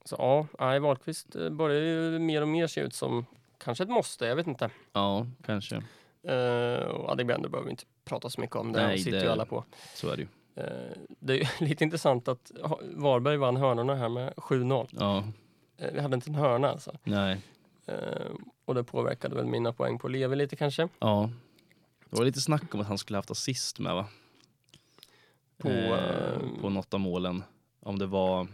C: så ja, nej, Wahlqvist eh, börjar ju mer och mer se ut som kanske ett måste, jag vet inte.
B: ja kanske.
C: Ehm, och Adegbenro behöver vi inte prata så mycket om, det
B: Nej,
C: sitter
B: det-
C: ju alla på.
B: Så är det ju.
C: Ehm, det är ju lite intressant att ha- Varberg vann hörnorna här med 7-0.
B: Ja,
C: Ehm, vi hade inte en hörna alltså.
B: nej.
C: Ehm, och det påverkade väl mina poäng på Levi lite kanske.
B: Ja. Det var lite snack om att han skulle haft assist med va?
C: På,
B: eh,
C: ehm,
B: på något av målen. Om det var,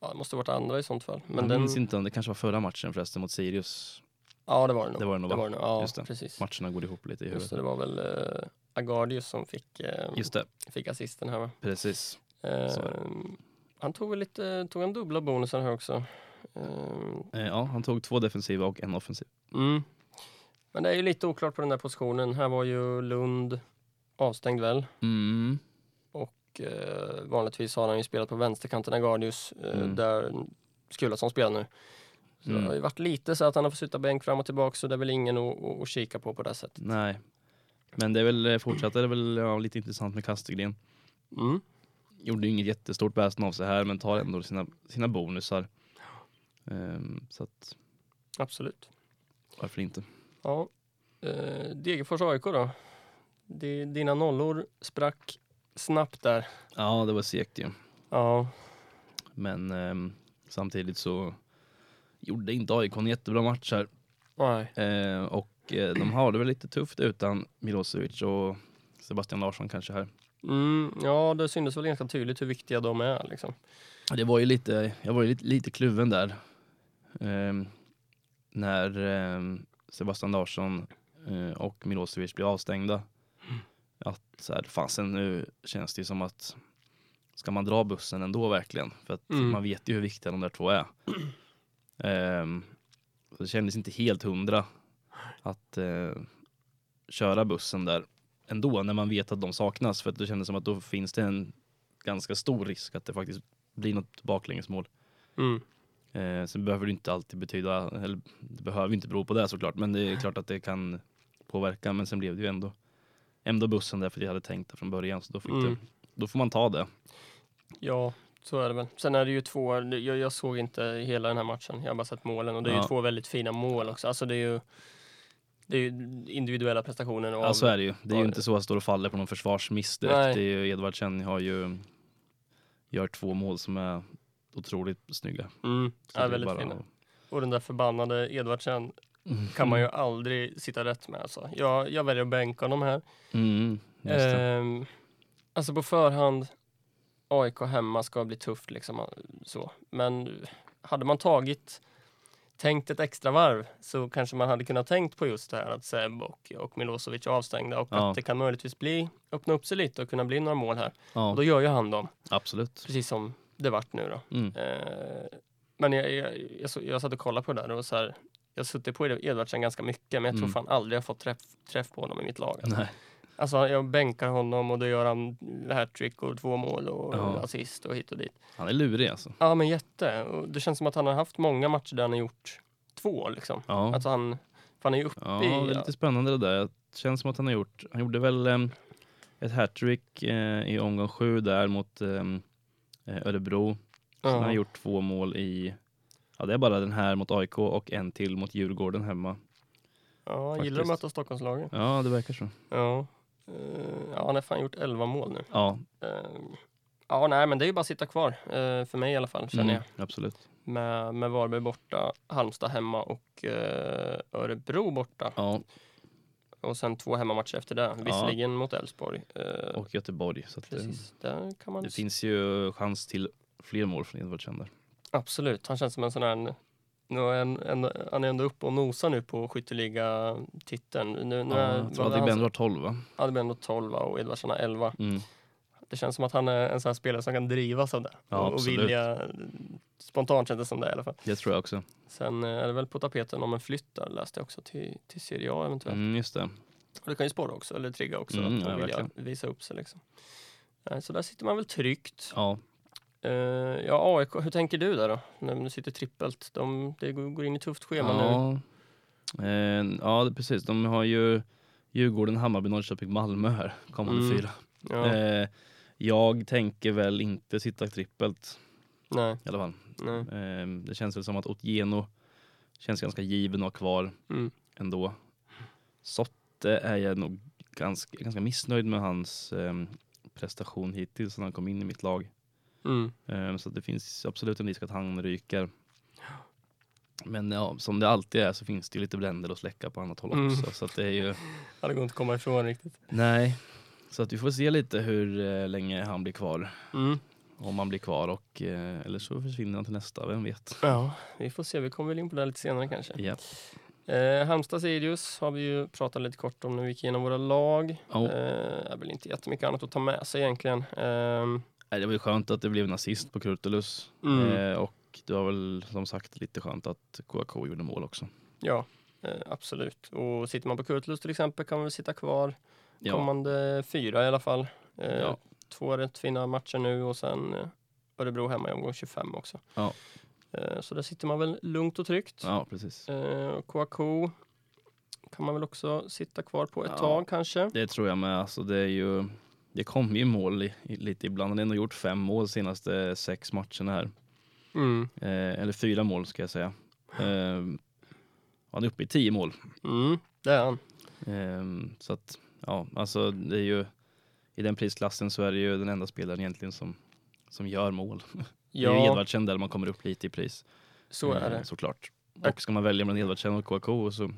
C: Ja, det måste ha varit andra i sånt fall. Men
B: jag
C: den,
B: minns inte om det kanske var förra matchen förresten mot Sirius.
C: Ja, det var det nog.
B: Det var det nog, va?
C: det nog. Ja,
B: Just det.
C: precis.
B: Matcherna går ihop lite i
C: Just det,
B: huvudet.
C: det var väl eh, Agardius som fick, eh,
B: Just det,
C: fick assisten här va?
B: precis. Så är
C: Eh, han tog väl lite, tog han dubbla bonusar här också? Eh,
B: Eh, ja, han tog två defensiva och en offensiv.
C: mm. Men det är ju lite oklart på den där positionen. Här var ju Lund avstängd väl?
B: Mm.
C: Och, eh, vanligtvis har han ju spelat på vänsterkanten Agardius, eh,
B: Mm.
C: där Skulason spelar nu. Så
B: Mm.
C: det har ju varit lite så att han har fått sitta bänk fram och tillbaka så det är väl ingen att, att, att kika på på det sättet.
B: Nej. Men det är väl eh, fortsatt är det väl ja, lite intressant med Kastegren.
C: Mm.
B: Gjorde ju inget jättestort väsen av sig här men tar ändå sina, sina bonusar. Ehm, så att
C: Absolut.
B: varför inte?
C: Ja. Eh, Degerfors AIK då? Di- dina nollor sprack snabbt där.
B: Ja, det var segt ju.
C: Ja.
B: Men ehm, samtidigt så gjorde inte AIK en jättebra match här.
C: Nej.
B: Eh, och eh, de har det väl lite tufft utan Milosevic och Sebastian Larsson kanske här.
C: Mm, ja, det syntes väl ganska tydligt hur viktiga de är. Liksom.
B: Det var ju lite, jag var ju lite, lite kluven där. Ehm, när ehm, Sebastian Larsson eh, och Milosevic blev avstängda. Att så här, fasen nu känns det ju som att ska man dra bussen ändå verkligen? För att
C: Mm.
B: man vet ju hur viktiga de där två är. Ehm, så det kändes inte helt hundra att eh, köra bussen där ändå när man vet att de saknas. För att det kändes som att då finns det en ganska stor risk att det faktiskt blir något baklängesmål.
C: Mm.
B: Eh, sen behöver det inte alltid betyda, eller det behöver inte bero på det såklart, men det är klart att det kan påverka. Men sen blev det ju ändå, ändå bussen där för jag hade tänkt det från början, så då, fick
C: Mm.
B: det, då får man ta det.
C: Ja, så är det väl. Sen är det ju två, jag, jag såg inte hela den här matchen, jag har bara sett målen och det är
B: Ja.
C: ju två väldigt fina mål också. Alltså det är ju, det är ju individuella prestationer. Av,
B: Ja, så är det ju. Det är ju
C: av-
B: inte så att jag står och faller på någon försvarsmiss direkt.
C: Nej.
B: Det är ju, Edvardsen har ju, gör två mål som är otroligt snygga.
C: mm,
B: Så
C: är
B: det
C: väldigt
B: bara
C: fina.
B: att-
C: Och den där förbannade Edvardsen kan man ju aldrig sitta rätt med. Alltså. Jag, jag väljer att bänka honom här.
B: Mm, just det.
C: Ehm, alltså på förhand, AIK hemma ska bli tufft liksom. Så. Men hade man tagit, tänkt ett extra varv så kanske man hade kunnat tänkt på just det här att Seb och, och Milosevic är avstängda och
B: Ja.
C: att det kan möjligtvis bli, öppna upp sig lite och kunna bli några mål här. Och
B: Ja,
C: då gör ju han dem,
B: absolut.
C: precis som det vart nu då.
B: Mm.
C: Eh, men jag, jag, jag, så- jag satt och kollade på det där och så här, jag har suttit på Edvardsen ganska mycket men jag tror
B: Mm.
C: fan aldrig jag fått träff, träff på honom i mitt lag.
B: Nej.
C: Alltså jag bänkar honom och då gör han hattrick och två mål och
B: Ja.
C: assist och hit och dit.
B: Han är lurig alltså.
C: Ja men jätte. Och det känns som att han har haft många matcher där han har gjort två liksom.
B: Ja,
C: Alltså han För han är ju uppe
B: Ja,
C: i...
B: det är lite spännande det där. Det känns som att han har gjort, han gjorde väl em, ett hattrick eh, i omgång sju där mot em, eh, Örebro.
C: ja.
B: Sen har han gjort två mål i, ja det är bara den här mot AIK och en till mot Djurgården hemma.
C: Ja, han gillar att
B: faktiskt.
C: möta Stockholmslagen.
B: Ja, det verkar så.
C: Ja. Eh, ja, han har fan gjort 11 mål nu.
B: Ja,
C: Eh, ja, nej, men det är ju bara att sitta kvar. eh, för mig i alla fall, känner
B: mm,
C: jag.
B: absolut.
C: Med, med Varberg borta, Halmstad hemma och eh, Örebro borta.
B: Ja,
C: Och sen två hemmamatcher efter det. Visserligen mot Elfsborg. eh,
B: och Göteborg. Så att, eh,
C: precis, där kan man...
B: det finns ju chans till fler mål från Edvard Kjell där.
C: Absolut, han känns som en sån här... Nu är en, en, han är ändå uppe och nosar nu på skytteliga-titeln. Nu, nu är, alltså-
B: Ja, jag tror
C: vad är
B: att
C: han-
B: Bender har 12 va?
C: Ja, det blir ändå 12 va, och Edvardsson har 11.
B: Mm.
C: Det känns som att han är en sån här spelare som kan drivas av det.
B: Ja,
C: och, och
B: absolut.
C: vilja, spontant kändes det som det i alla fall.
B: Det tror jag också.
C: Sen eh, är det väl på tapeten om en flytt där, läste jag också, till, till Serie A eventuellt.
B: Mm, just det.
C: Och det kan ju spåra också, eller trigga också,
B: Mm,
C: att man
B: ja,
C: vill
B: verkligen.
C: visa upp sig liksom. Eh, Så där sitter man väl tryggt.
B: Ja,
C: Eh, Ja, AIK, hur tänker du där då? När du sitter trippelt, de, det går går in i tufft schema nu.
B: ja. Eh, ja, det- precis. De har ju Djurgården, Hammarby, Norrköping, Malmö här kommande
C: Mm.
B: fyra.
C: Ja,
B: Eh, jag tänker väl inte sitta trippelt
C: nej,
B: i alla fall.
C: nej.
B: Eh, det känns väl som att Otieno känns ganska given att ha kvar
C: Mm.
B: ändå. Sotte är jag nog ganska, ganska missnöjd med hans eh, prestation hittills när han kom in i mitt lag.
C: Mm.
B: Eh, så att det finns absolut en risk att han ryker. Men ja, som det alltid är så finns det ju lite bränder att släcka på annat håll
C: Mm.
B: också. Så att det är ju,
C: Ja, det går inte att komma ifrån riktigt.
B: nej. Så att vi får se lite hur eh, länge han blir kvar.
C: Mm.
B: Om han blir kvar och, eh, eller så försvinner han till nästa, vem vet?
C: Ja, vi får se. Vi kommer väl in på det här lite senare kanske.
B: Ja.
C: Eh, Halmstad-Sirius har vi ju pratat lite kort om när vi gick igenom våra lag.
B: Ja,
C: Eh, är väl inte jättemycket annat att ta med sig egentligen. Ehm,
B: nej, Eh, det var ju skönt att det blev en assist på Kurtulus.
C: Mm.
B: Eh, och det var väl som sagt lite skönt att KK gjorde mål också.
C: ja, eh, absolut. Och sitter man på Kurtulus till exempel kan man väl sitta kvar
B: Ja,
C: kommande fyra i alla fall. Eh,
B: Ja.
C: Två rätt fina matcher nu och sen eh, Örebro hemma i omgång 25 också.
B: Ja.
C: Eh, så där sitter man väl lugnt och tryggt.
B: ja precis.
C: Eh, KAK kan man väl också sitta kvar på ett
B: Ja.
C: tag kanske.
B: Det tror jag med. Alltså det är ju, det kommer ju mål i, i, lite ibland. Han har ändå gjort fem mål senaste sex matcherna här.
C: Mm.
B: Eh, eller fyra mål ska jag säga. Eh, han är uppe i tio mål.
C: Mm, det är han.
B: Eh, så att, ja, alltså det är ju i den prisklassen så är det ju den enda spelaren egentligen som, som gör mål. Det är ju
C: Ja,
B: Edvardsen där man kommer upp lite i pris.
C: så är
B: Eh,
C: det.
B: Såklart. Och ska man välja mellan Edvardsen och KK så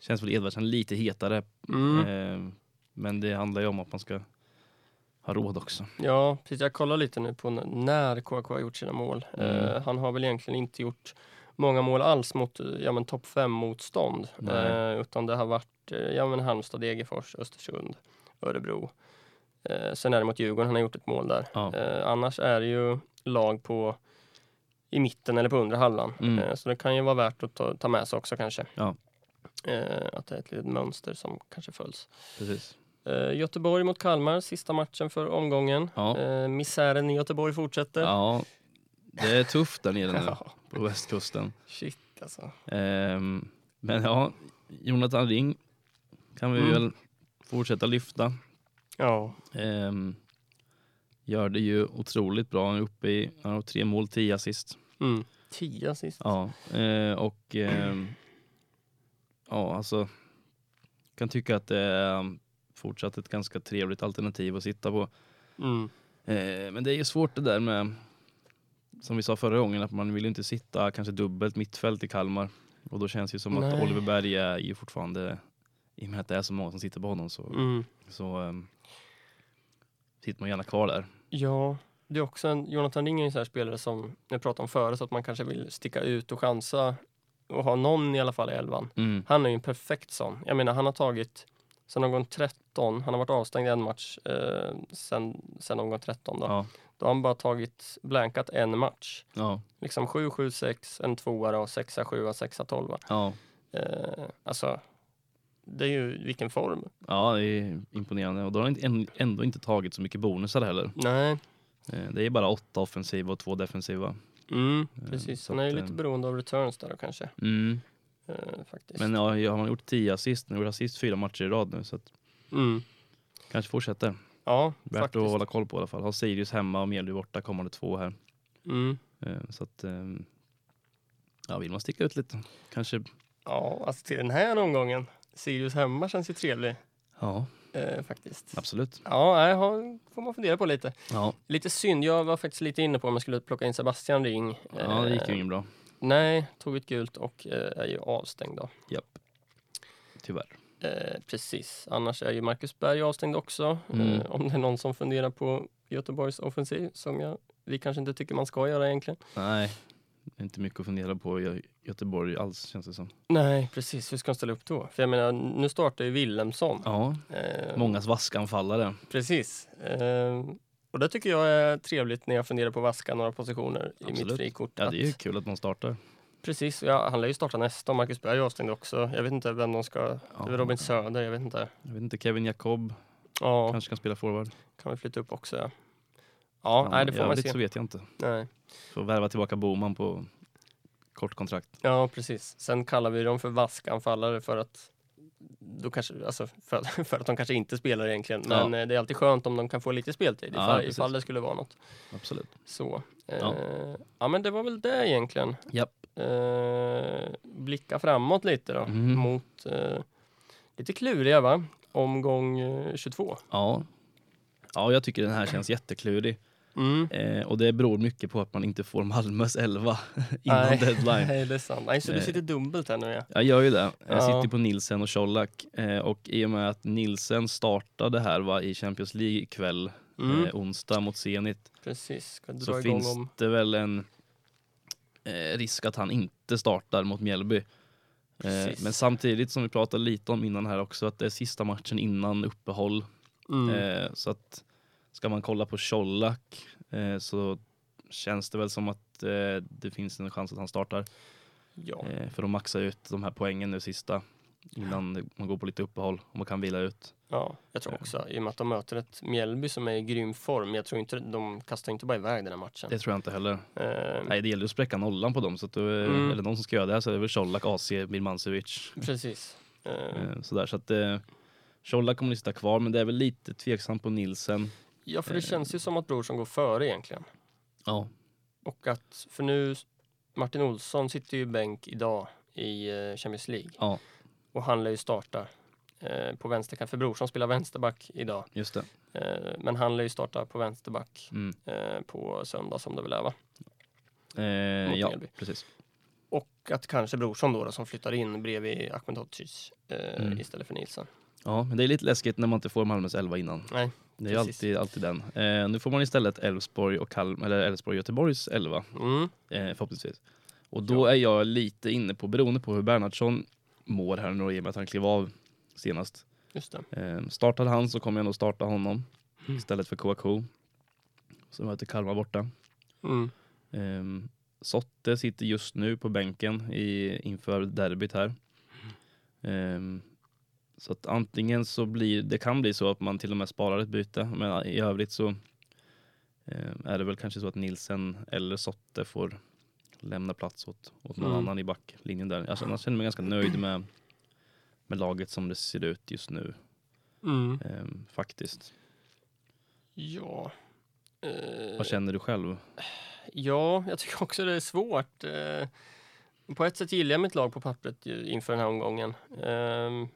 B: känns väl Edvardsen lite hetare.
C: Mm.
B: Eh, men det handlar ju om att man ska ha råd också.
C: Ja, precis. Jag kollar lite nu på n- när KK har gjort sina mål.
B: Mm.
C: Eh, han har väl egentligen inte gjort många mål alls mot eh, ja, men topp 5-motstånd.
B: Nej.
C: Eh, utan det har varit eh, ja, men Halmstad, Degerfors, Östersund, Örebro. Eh, sen är det mot Djurgården, han har gjort ett mål där.
B: Ja.
C: Eh, annars är det ju lag på i mitten eller på undre halvan.
B: Mm.
C: Eh, så det kan ju vara värt att ta, ta med sig också kanske.
B: Ja.
C: Eh, att det är ett litet mönster som kanske följs.
B: Precis.
C: Eh, Göteborg mot Kalmar, sista matchen för omgången.
B: Ja.
C: Eh, misären i Göteborg fortsätter.
B: ja, det är tufft där nere nu
C: eh. Ja,
B: på västkusten.
C: Shit alltså.
B: Ehm, men ja, Jonathan Ring kan vi
C: Mm.
B: väl fortsätta lyfta.
C: Ja.
B: Ehm, gör det ju otroligt bra. Han är uppe i han har tre mål, tio assist.
C: Mm. Tio sist.
B: Ja, eh, och ehm, ja, alltså kan tycka att det är fortsatt ett ganska trevligt alternativ att sitta på.
C: Mm.
B: Eh, men det är ju svårt det där med, som vi sa förra gången, att man vill ju inte sitta kanske dubbelt mittfält i Kalmar. Och då känns det ju som
C: Nej.
B: att Oliver Berg är ju fortfarande, i och med att det är så många som sitter på honom så,
C: Mm.
B: så ehm, sitter man gärna kvar där.
C: Ja, det är också en, Jonathan Ring är en sån här spelare som jag pratade om förut, att man kanske vill sticka ut och chansa och ha någon i alla fall i elvan.
B: Mm.
C: Han är ju en perfekt sån. Jag menar, han har tagit sen omgång 13, han har varit avstängd i en match eh, sen, sen omgång 13 då.
B: Ja,
C: Då har han bara tagit, blankat en match.
B: ja,
C: Liksom 7, 7, 6, en tvåa då, 6, 7, 6, 12.
B: ja.
C: Eh, alltså, det är ju vilken form.
B: ja, det är imponerande. Och då har han inte- än- ändå inte tagit så mycket bonusar heller.
C: Nej,
B: Eh, det är bara åtta offensiva och två defensiva.
C: mm,
B: Eh,
C: precis.
B: så
C: Han är ju
B: att,
C: lite
B: eh,
C: beroende av returns där då kanske.
B: Mm.
C: eh, faktiskt.
B: Men ja, jag har gjort 10 assist nu och assist fyra matcher i rad nu så att
C: mm.
B: kanske fortsätter.
C: Ja,
B: Värt
C: faktiskt.
B: att hålla koll på i alla fall. Har Sirius hemma och Mjällby borta kommande två här.
C: Mm.
B: Eh, Så att eh, ja, vill man sticka ut lite kanske.
C: Ja, alltså till den här omgången. Sirius hemma känns ju trevlig
B: Ja,
C: eh, faktiskt.
B: absolut.
C: Ja, nej, har, får man fundera på lite.
B: Ja,
C: Lite synd, jag var faktiskt lite inne på om jag skulle plocka in Sebastian Ring.
B: ja det gick ju
C: Eh,
B: inget bra.
C: Nej, tog ett gult och eh, är ju avstängd då.
B: Japp. Tyvärr.
C: Eh, precis, annars är ju Marcus Berg avstängd också.
B: Mm.
C: Eh, om det är någon som funderar på Göteborgs offensiv, som jag, vi kanske inte tycker man ska göra egentligen.
B: Nej, det är inte mycket att fundera på i Gö- Göteborg alls känns det som.
C: Nej, precis, hur ska de ställa upp då? För jag menar, nu startar ju Willemsson.
B: Ja,
C: Eh,
B: mångas vaskanfallare.
C: Precis. Eh, och det tycker jag är trevligt när jag funderar på att vaska några positioner i mitt
B: Absolut.
C: frikort.
B: Ja,
C: Att-
B: det är ju kul att någon startar.
C: Precis, och jag, han lär ju starta nästa och Marcus Berg är avstängd också. Jag vet inte vem de ska... Det är väl Robin Söder, jag vet inte.
B: Jag vet inte, Kevin Jakob
C: Ja,
B: kanske kan spela forward.
C: kan vi flytta upp också? Ja, ja nej, det
B: I
C: får man
B: övrigt
C: se.
B: så vet jag inte.
C: Nej.
B: Får värva tillbaka Boman på kort kontrakt.
C: Ja, precis. Sen kallar vi dem för vaskanfallare för att då kanske, alltså för, att- för att de kanske inte spelar egentligen.
B: Ja.
C: Men eh, det är alltid skönt om de kan få lite speltid
B: Ja,
C: ifall,
B: precis.
C: ifall det skulle vara något.
B: Absolut.
C: Så. Eh, ja.
B: Ja.
C: men det var väl det egentligen.
B: Japp.
C: Eh, blicka framåt lite då
B: Mm.
C: mot eh, lite kluriga va? Omgång eh, 22.
B: Ja. Ja, jag tycker den här känns jätteklurig.
C: Mm.
B: Eh, och det beror mycket på att man inte får Malmös 11 innan
C: Nej.
B: deadline.
C: Nej, det är sant. Nej, så du
B: Eh.
C: sitter dubbelt här nu ja.
B: Jag gör ju det. Jag
C: Ja.
B: sitter på Nilsen och Colak. Eh, och i och med att Nilsen startade här va, i Champions League ikväll,
C: Mm.
B: eh, onsdag mot Zenit,
C: Precis, ska dra
B: så
C: igång
B: finns
C: om...
B: det väl en eh, risk att han inte startar mot Mjällby. Eh,
C: Precis.
B: men samtidigt som vi pratade lite om innan här också att det är sista matchen innan uppehåll.
C: Mm.
B: Eh, så att ska man kolla på Colak eh, så känns det väl som att eh, det finns en chans att han startar.
C: ja.
B: Eh, för att maxa ut de här poängen nu sista innan det- man går på lite uppehåll och man kan vila ut.
C: ja, jag
B: Eh.
C: tror också i och med att de möter ett Mjällby som är i grym form. Jag tror inte de kastar inte bara iväg den här matchen.
B: Det tror jag inte heller.
C: Eh,
B: Nej, det gäller att spräcka nollan på dem så att då, eh,
C: Mm.
B: eller någon som ska göra det här så är det väl Colak, AC, Birmancevic.
C: Precis. Eh,
B: Eh, sådär så att eh, Colak kommer att sitta kvar men det är väl lite tveksamt på Nilsen.
C: ja, för det
B: eh.
C: känns ju som att Brorsson går före egentligen.
B: Ja,
C: Och att, för nu, Martin Olsson sitter ju bänk idag i eh, Champions League.
B: Ja.
C: Och han lär ju starta eh, på vänsterkant, för Brorsson spelar vänsterback idag.
B: just det.
C: Eh, men han lär ju starta på vänsterback
B: Mm.
C: eh, på söndag som det väl är va?
B: Eh,
C: Mot
B: ja,
C: Mjällby.
B: precis.
C: Och att kanske Brorsson då, då som flyttar in bredvid Akhmetovic eh,
B: Mm.
C: istället för Nilsson.
B: Ja, men det är lite läskigt när man inte får Malmös elva innan.
C: Nej,
B: Det är ju
C: precis.
B: alltid, alltid den. Eh, nu får man istället Elfsborg och Kalm, eller Elfsborg och Göteborgs elva.
C: Mm.
B: eh, förhoppningsvis. Och då är jag lite inne på, beroende på hur Bernhardsson mår här nu då, i och med att han klev av senast.
C: Just det.
B: Eh, startade han så kommer jag nog starta honom istället för Kouakou som möter Kalmar borta.
C: Mm.
B: Eh, Sotte sitter just nu på bänken i, inför derbyt här. Eh, så att antingen så blir det kan bli så att man till och med sparar ett byte, men i övrigt så eh, är det väl kanske så att Nilsen eller Sotte får lämna plats åt, åt någon
C: Mm.
B: annan i backlinjen där. Alltså, jag känner mig ganska nöjd med, med laget som det ser ut just nu
C: Mm.
B: eh, faktiskt.
C: Ja. Eh,
B: Vad känner du själv?
C: Ja, jag tycker också det är svårt. Eh, På ett sätt gillar jag mitt lag på pappret ju inför den här omgången. Ehm,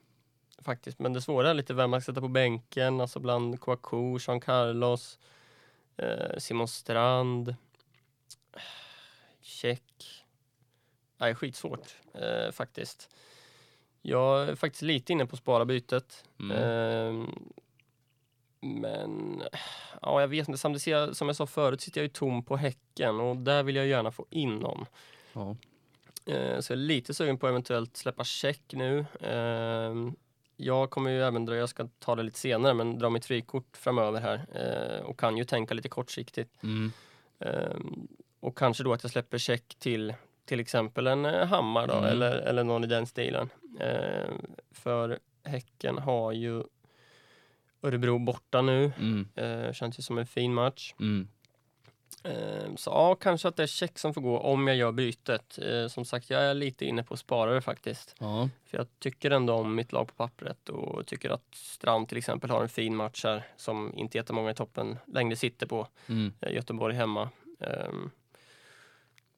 C: Faktiskt, men det svåra är lite vem man ska sätta på bänken, alltså bland Kouakou, Jean Carlos, eh, Simon Strand, Check. Nej, skitsvårt eh, faktiskt. Jag är faktiskt lite inne på spara bytet.
B: Mm.
C: Ehm, men ja, jag vet inte. Samtidigt ser jag, som jag sa förut sitter jag ju tom på Häcken och där vill jag gärna få in någon.
B: Ja.
C: Eh, så jag är lite sugen på att eventuellt släppa check nu. Eh, jag kommer ju även dra, jag ska ta det lite senare, men dra mitt frikort framöver här eh, och kan ju tänka lite kortsiktigt.
B: Mm.
C: Ehm, och kanske då att jag släpper check till till exempel en eh, Hammar då,
B: Mm.
C: eller, eller någon i den stilen. Ehm, för Häcken har ju Örebro borta nu. Ehm,
B: Mm.
C: Eh, känns ju som en fin match.
B: Mm.
C: Eh, Så ja, kanske att det är check som får gå om jag gör bytet. Eh, Som sagt, jag är lite inne på sparare faktiskt.
B: Ja.
C: För jag tycker ändå om mitt lag på pappret och tycker att Strand till exempel har en fin match här som inte jättemånga i toppen längre sitter på.
B: Mm.
C: Eh, Göteborg hemma. Ehm,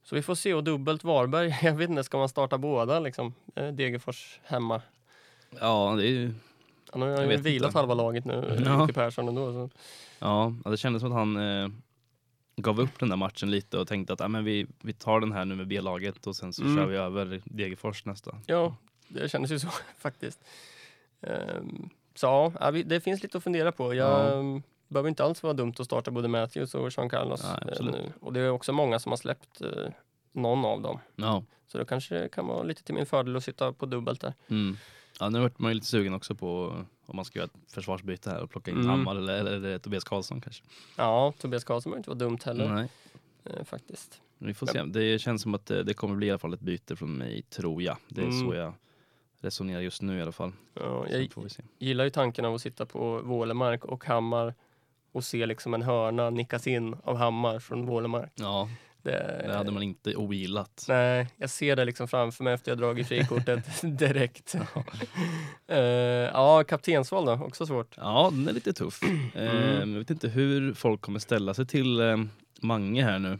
C: Så vi får se. Och dubbelt Varberg, jag vet inte, ska man starta båda liksom? Eh, Degerfors hemma.
B: ja, det är ju...
C: Han har
B: Jag
C: ju
B: vet
C: vilat
B: inte.
C: halva laget nu,
B: Ja.
C: Jocke Persson ändå. Så.
B: Ja, det kändes som att han eh, gav upp den där matchen lite och tänkte att ah, men vi, vi tar den här nu med B-laget och sen så
C: Mm.
B: kör vi över Degerfors nästa.
C: Ja, det kändes ju så faktiskt. Ehm, Så ja, ja, vi- det finns lite att fundera på. Jag ehm, behöver inte alls vara dumt att starta både Matthews och Jean Carlos
B: Nej,
C: eh,
B: absolut.
C: nu. Och det är också många som har släppt eh, någon av dem.
B: Ja.
C: Så då kanske det kan vara lite till min fördel att sitta på dubbelt där.
B: Mm. ja, nu vart man ju lite sugen också på om man ska göra ett försvarsbyte här och plocka in
C: Mm.
B: Hammar eller, eller, eller Tobias Karlsson kanske.
C: Ja, Tobias Karlsson behöver inte vara dumt heller
B: Nej,
C: eh, faktiskt.
B: vi får se. Det känns som att eh, det, det kommer bli i alla fall ett byte från mig, tror jag. Det är
C: Mm.
B: så jag resonerar just nu i alla fall.
C: Ja,
B: Sen
C: jag
B: får vi se.
C: gillar ju tanken av att sitta på Vålemark och Hammar och se liksom en hörna nickas in av Hammar från Vålemark.
B: Ja,
C: Det,
B: det hade man inte ogillat.
C: Nej, jag ser det liksom framför mig efter jag dragit frikortet direkt. Eh, ja, kaptensval då, också svårt.
B: Ja, den är lite tuff.
C: Mm.
B: Eh, men jag vet inte hur folk kommer ställa sig till eh, Mange här nu.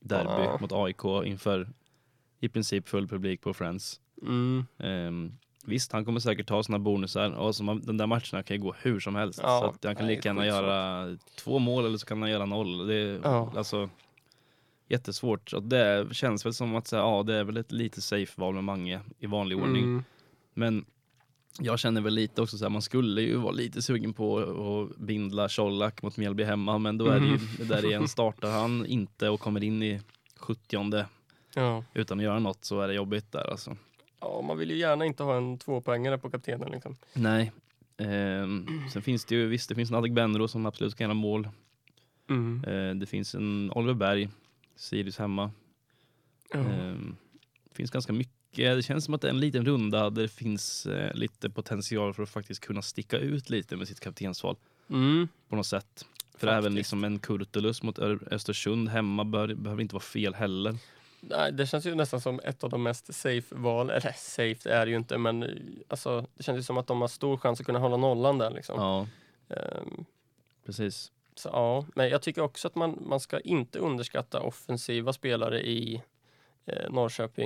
B: Derby
C: Ja.
B: mot AIK inför i princip full publik på Friends.
C: Mm.
B: Eh, visst, han kommer säkert ta sina bonusar. Och så man, den där matcherna kan ju gå hur som helst.
C: Ja,
B: så att han kan
C: nej,
B: lika gärna
C: skitsvårt.
B: göra två mål eller så kan han göra noll. Det är,
C: Ja.
B: alltså, jättesvårt. Och det känns väl som att så här, ja, det är väl ett lite safe val med Mange i vanlig ordning.
C: Mm.
B: Men jag känner väl lite också så här, man skulle ju vara lite sugen på att bindla Colak mot Mjällby hemma, men då är det ju
C: Mm.
B: det där igen, startar han inte och kommer in i 70
C: Ja.
B: utan att göra något så är det jobbigt där alltså.
C: ja, man vill ju gärna inte ha en tvåpoängare på kaptenen. Liksom.
B: Nej. Ehm, sen finns det ju, visst det finns en Adegbenro som absolut kan göra mål.
C: Mm.
B: Eh, det finns en Oliver Berg, Sirius hemma.
C: Ja.
B: Ehm, det finns ganska mycket, det känns som att det är en liten runda där det finns eh, lite potential för att faktiskt kunna sticka ut lite med sitt kaptensval.
C: Mm.
B: på något sätt. För
C: Faktiskt.
B: även liksom en Kurtulus mot Ö- Östersund hemma bör, behöver inte vara fel heller.
C: Nej, det känns ju nästan som ett av de mest safe val. Eller safe det är det ju inte, men eh, alltså, det känns ju som att de har stor chans att kunna hålla nollan där. Liksom.
B: Ja,
C: Ehm,
B: precis.
C: Så, ja, men jag tycker också att man, man ska inte underskatta offensiva spelare i eh,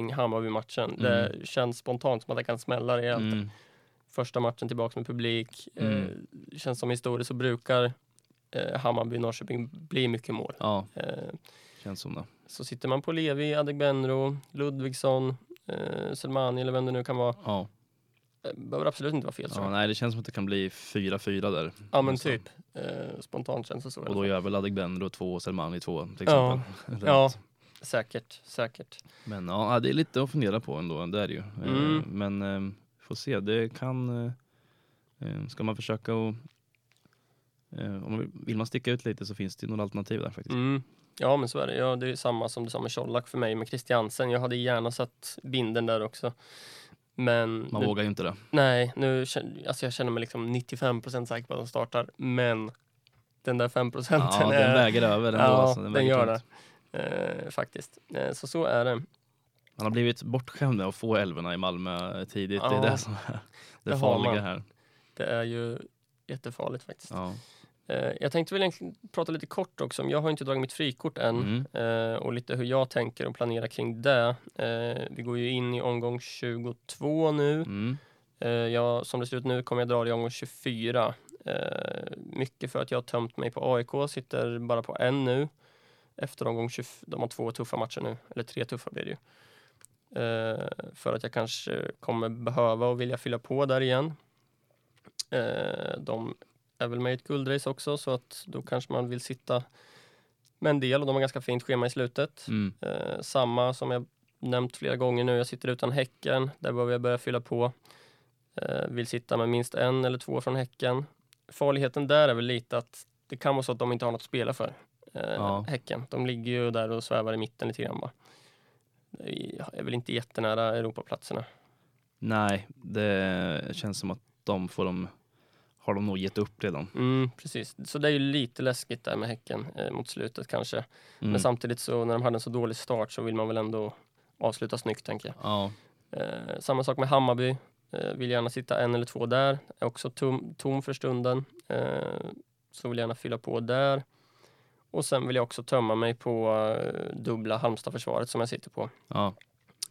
C: Norrköping-Hammarby-matchen. Det känns spontant som att det kan smälla rejält.
B: Mm.
C: Första matchen tillbaka med publik.
B: Mm.
C: Eh, känns som historiskt så brukar eh, Hammarby-Norrköping bli mycket mål.
B: Ja,
C: Eh,
B: känns som det.
C: så sitter man på Levi, Adegbenro, Ludvigsson, eh, Selmani eller vem det nu kan vara.
B: Ja.
C: Eh, behöver absolut inte vara fel. tror
B: Ja,
C: jag.
B: nej, det känns som att det kan bli 4-4 där.
C: ja men
B: nästan.
C: typ. Eh, spontant känns det så. i alla
B: Och då
C: fall.
B: gör väl Adegbenro två och Selmani två till
C: Ja.
B: exempel. Eller
C: ja,
B: något.
C: säkert, säkert.
B: Men ja, det är lite att fundera på ändå, det är det ju. Eh,
C: Mm.
B: Men eh, får se, det kan... eh, Eh, ska man försöka och... Eh, om man vill, vill man sticka ut lite så finns det ju några alternativ där faktiskt.
C: Mm. Ja, men så är det. Ja, det är samma som du sa med Colak för mig med Christiansen. Jag hade gärna satt binden där också. Men
B: Man
C: nu,
B: vågar ju inte det.
C: nej, nu känner, alltså jag känner mig liksom 95 säker på att de startar. Men den där 5 procenten
B: Ja,
C: är...
B: den väger över ändå.
C: ja,
B: alltså,
C: den,
B: väger
C: gör
B: tungt.
C: det. Eh, faktiskt. Eh, så så är det.
B: Man har blivit bortskämd med att få älvorna i Malmö tidigt. Det
C: Ja,
B: är det som är det,
C: det har
B: farliga
C: man.
B: här.
C: Det är ju jättefarligt faktiskt.
B: Ja.
C: Eh, jag tänkte väl egentligen prata lite kort också om, jag har inte dragit mitt frikort än.
B: Mm.
C: eh, och lite hur jag tänker och planerar kring det. Eh, vi går ju in i omgång 22 nu.
B: Mm.
C: Eh, jag, som det ser ut nu kommer jag dra det i omgång 24. Eh, mycket för att jag har tömt mig på AIK, sitter bara på en nu. Efter omgång 20, de har två tuffa matcher nu, eller tre tuffa blir det ju. Eh, för att jag kanske kommer behöva och vilja fylla på där igen. Eh, de är väl med i ett guldrace också, så att då kanske man vill sitta med en del och de har ganska fint schema i slutet.
B: Mm.
C: Eh, samma som jag nämnt flera gånger nu, jag sitter utan Häcken. Där behöver jag börja fylla på. Eh, vill sitta med minst en eller två från Häcken. Farligheten där är väl lite att det kan vara så att de inte har något att spela för. Eh,
B: Ja.
C: Häcken. De ligger ju där och svävar i mitten lite grann bara. Det är väl inte jättenära Europaplatserna.
B: Nej, det känns som att de får de har de nog gett upp redan.
C: Mm, precis. Så det är ju lite läskigt där med Häcken eh, mot slutet kanske.
B: Mm.
C: Men samtidigt så när de hade en så dålig start så vill man väl ändå avsluta snyggt tänker jag.
B: Ja,
C: Eh, samma sak med Hammarby. Eh, vill gärna sitta en eller två där. Är också tom, tom för stunden. Eh, så vill gärna fylla på där. Och sen vill jag också tömma mig på eh, dubbla Halmstad-försvaret som jag sitter på.
B: ja,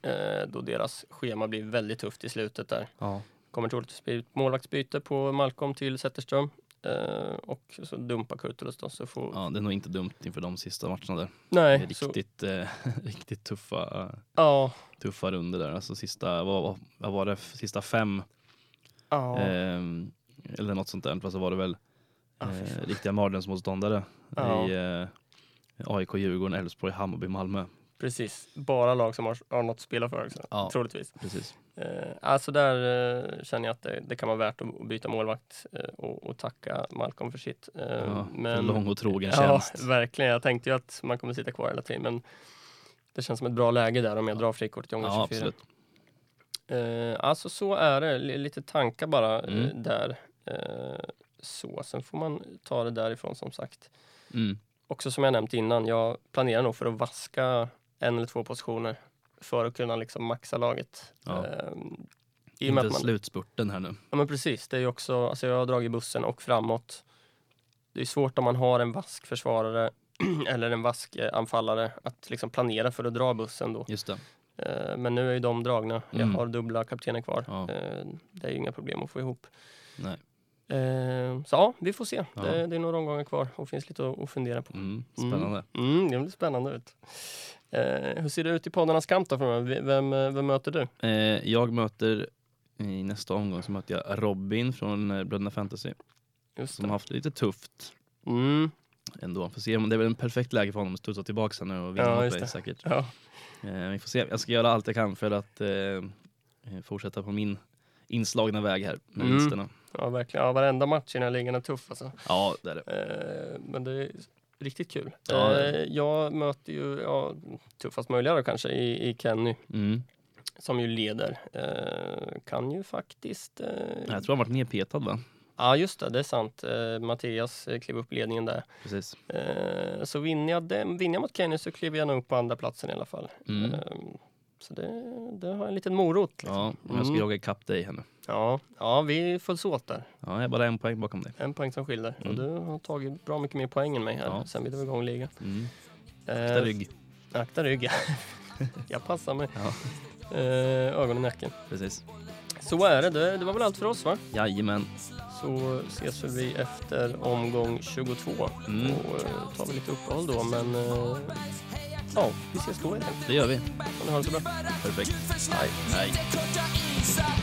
C: Eh, då deras schema blir väldigt tufft i slutet där.
B: ja.
C: Kommer troligtvis bli ett målvaktsbyte på Malcolm till Zetterström. Eh, och så dumpa Kurtulus då. Så får,
B: ja, det är nog inte dumt inför de sista matcherna där. Det är
C: Nej, så,
B: riktigt, eh, riktigt tuffa, eh,
C: ja,
B: tuffa runder där. Alltså sista, vad, vad- vad var det, sista fem
C: ja,
B: ehm, eller något sånt där. Fast så var det väl
C: Ja, Ah, fy
B: eh,
C: fan.
B: riktiga mardrömsmotståndare
C: Ja.
B: i eh, AIK, Djurgården, Elfsborg, Hammarby, Malmö.
C: precis. Bara lag som har, har något att spela för också,
B: Ja.
C: troligtvis.
B: Precis.
C: Eh, alltså där eh, känner jag att det, det kan vara värt att att byta målvakt eh, och, och tacka Malcolm för sitt. Eh,
B: Ja,
C: men-
B: Lång och trogen
C: Ja,
B: tjänst.
C: verkligen. Jag tänkte ju att man kommer sitta kvar hela tiden, men det känns som ett bra läge där om jag drar frikortet i omgång
B: Ja,
C: 24.
B: absolut.
C: Eh, alltså så är det. L- lite tankar bara eh,
B: Mm.
C: där. Eh, så, sen får man ta det därifrån som sagt.
B: Mm.
C: Också som jag nämnt innan, jag planerar nog för att vaska en eller två positioner för att kunna liksom maxa laget.
B: Ja.
C: Eh, i och med
B: Inte
C: att man,
B: slutspurten här nu.
C: Ja men precis, det är ju också, alltså jag har dragit bussen och framåt. Det är svårt om man har en vask försvarare eller en vask eh, anfallare att liksom planera för att dra bussen då.
B: Just det.
C: Eh, Men nu är ju de dragna. Jag
B: Mm.
C: har dubbla kaptener kvar.
B: Ja.
C: Eh, Det är ju inga problem att få ihop.
B: Nej.
C: Eh, Så ja, vi får se.
B: Ja.
C: Det, det är några omgångar kvar och finns lite att, att fundera på.
B: Mm. Spännande.
C: Mm, det blir spännande ut. Eh, hur ser det ut i poddarnas kamp då? framöver? V- Vem, eh, vem möter du?
B: Eh, jag möter i nästa omgång så möter jag Robin från eh, Bröderna Fantasy
C: Just
B: som har
C: det.
B: haft det lite tufft
C: Mm,
B: ändå. Får se, om- det är väl en perfekt läge för honom att studsa tillbaka sen nu och vinna
C: Ja,
B: ja,
C: just
B: det.
C: det.
B: säkert.
C: ja.
B: Eh, vi får se. Jag ska göra allt jag kan för att eh, eh, fortsätta på min inslagna väg här med
C: Mm.
B: vinsterna.
C: ja, verkligen. Ja, varenda match i den här ligan är tuff alltså.
B: Ja, det är det.
C: Eh, men det är riktigt kul.
B: Ja, det är
C: eh, jag möter ju ja, tuffast möjliga då kanske i, i Kenny
B: Mm.
C: som ju leder. Eh, kan ju faktiskt... Eh,
B: Jag tror han varit nedpetad va?
C: Ja, just det, det är sant. Eh, Mattias eh, klev upp ledningen där.
B: Precis.
C: Eh, så vinner jag, den, vinner jag mot Kenny så kliver jag nog upp på andra platsen i alla fall.
B: Mm.
C: Eh, så det, det har en liten morot. Liksom.
B: Ja, men jag ska
C: Mm.
B: jaga ikapp dig här nu.
C: Ja, ja, vi följs åt där.
B: Ja, jag är bara en poäng bakom dig.
C: En poäng som skiljer.
B: Mm.
C: Och du har tagit bra mycket mer poäng än mig här
B: Ja.
C: sen vi drog igång ligan.
B: Mm.
C: Eh,
B: Akta rygg.
C: Akta rygg. Jag passar mig.
B: Ja.
C: Eh, ögon och nacken.
B: Precis.
C: Så är det. det. Det var väl allt för oss va?
B: Jajamän.
C: Så ses väl vi efter omgång 22.
B: Mm.
C: Och eh, tar vi lite uppehåll då men eh, ja, vi ses då helt enkelt.
B: Det gör vi.
C: Ha det så bra.
B: Perfekt.
A: Gud försvann,
B: Nej.
A: mitt i korta isar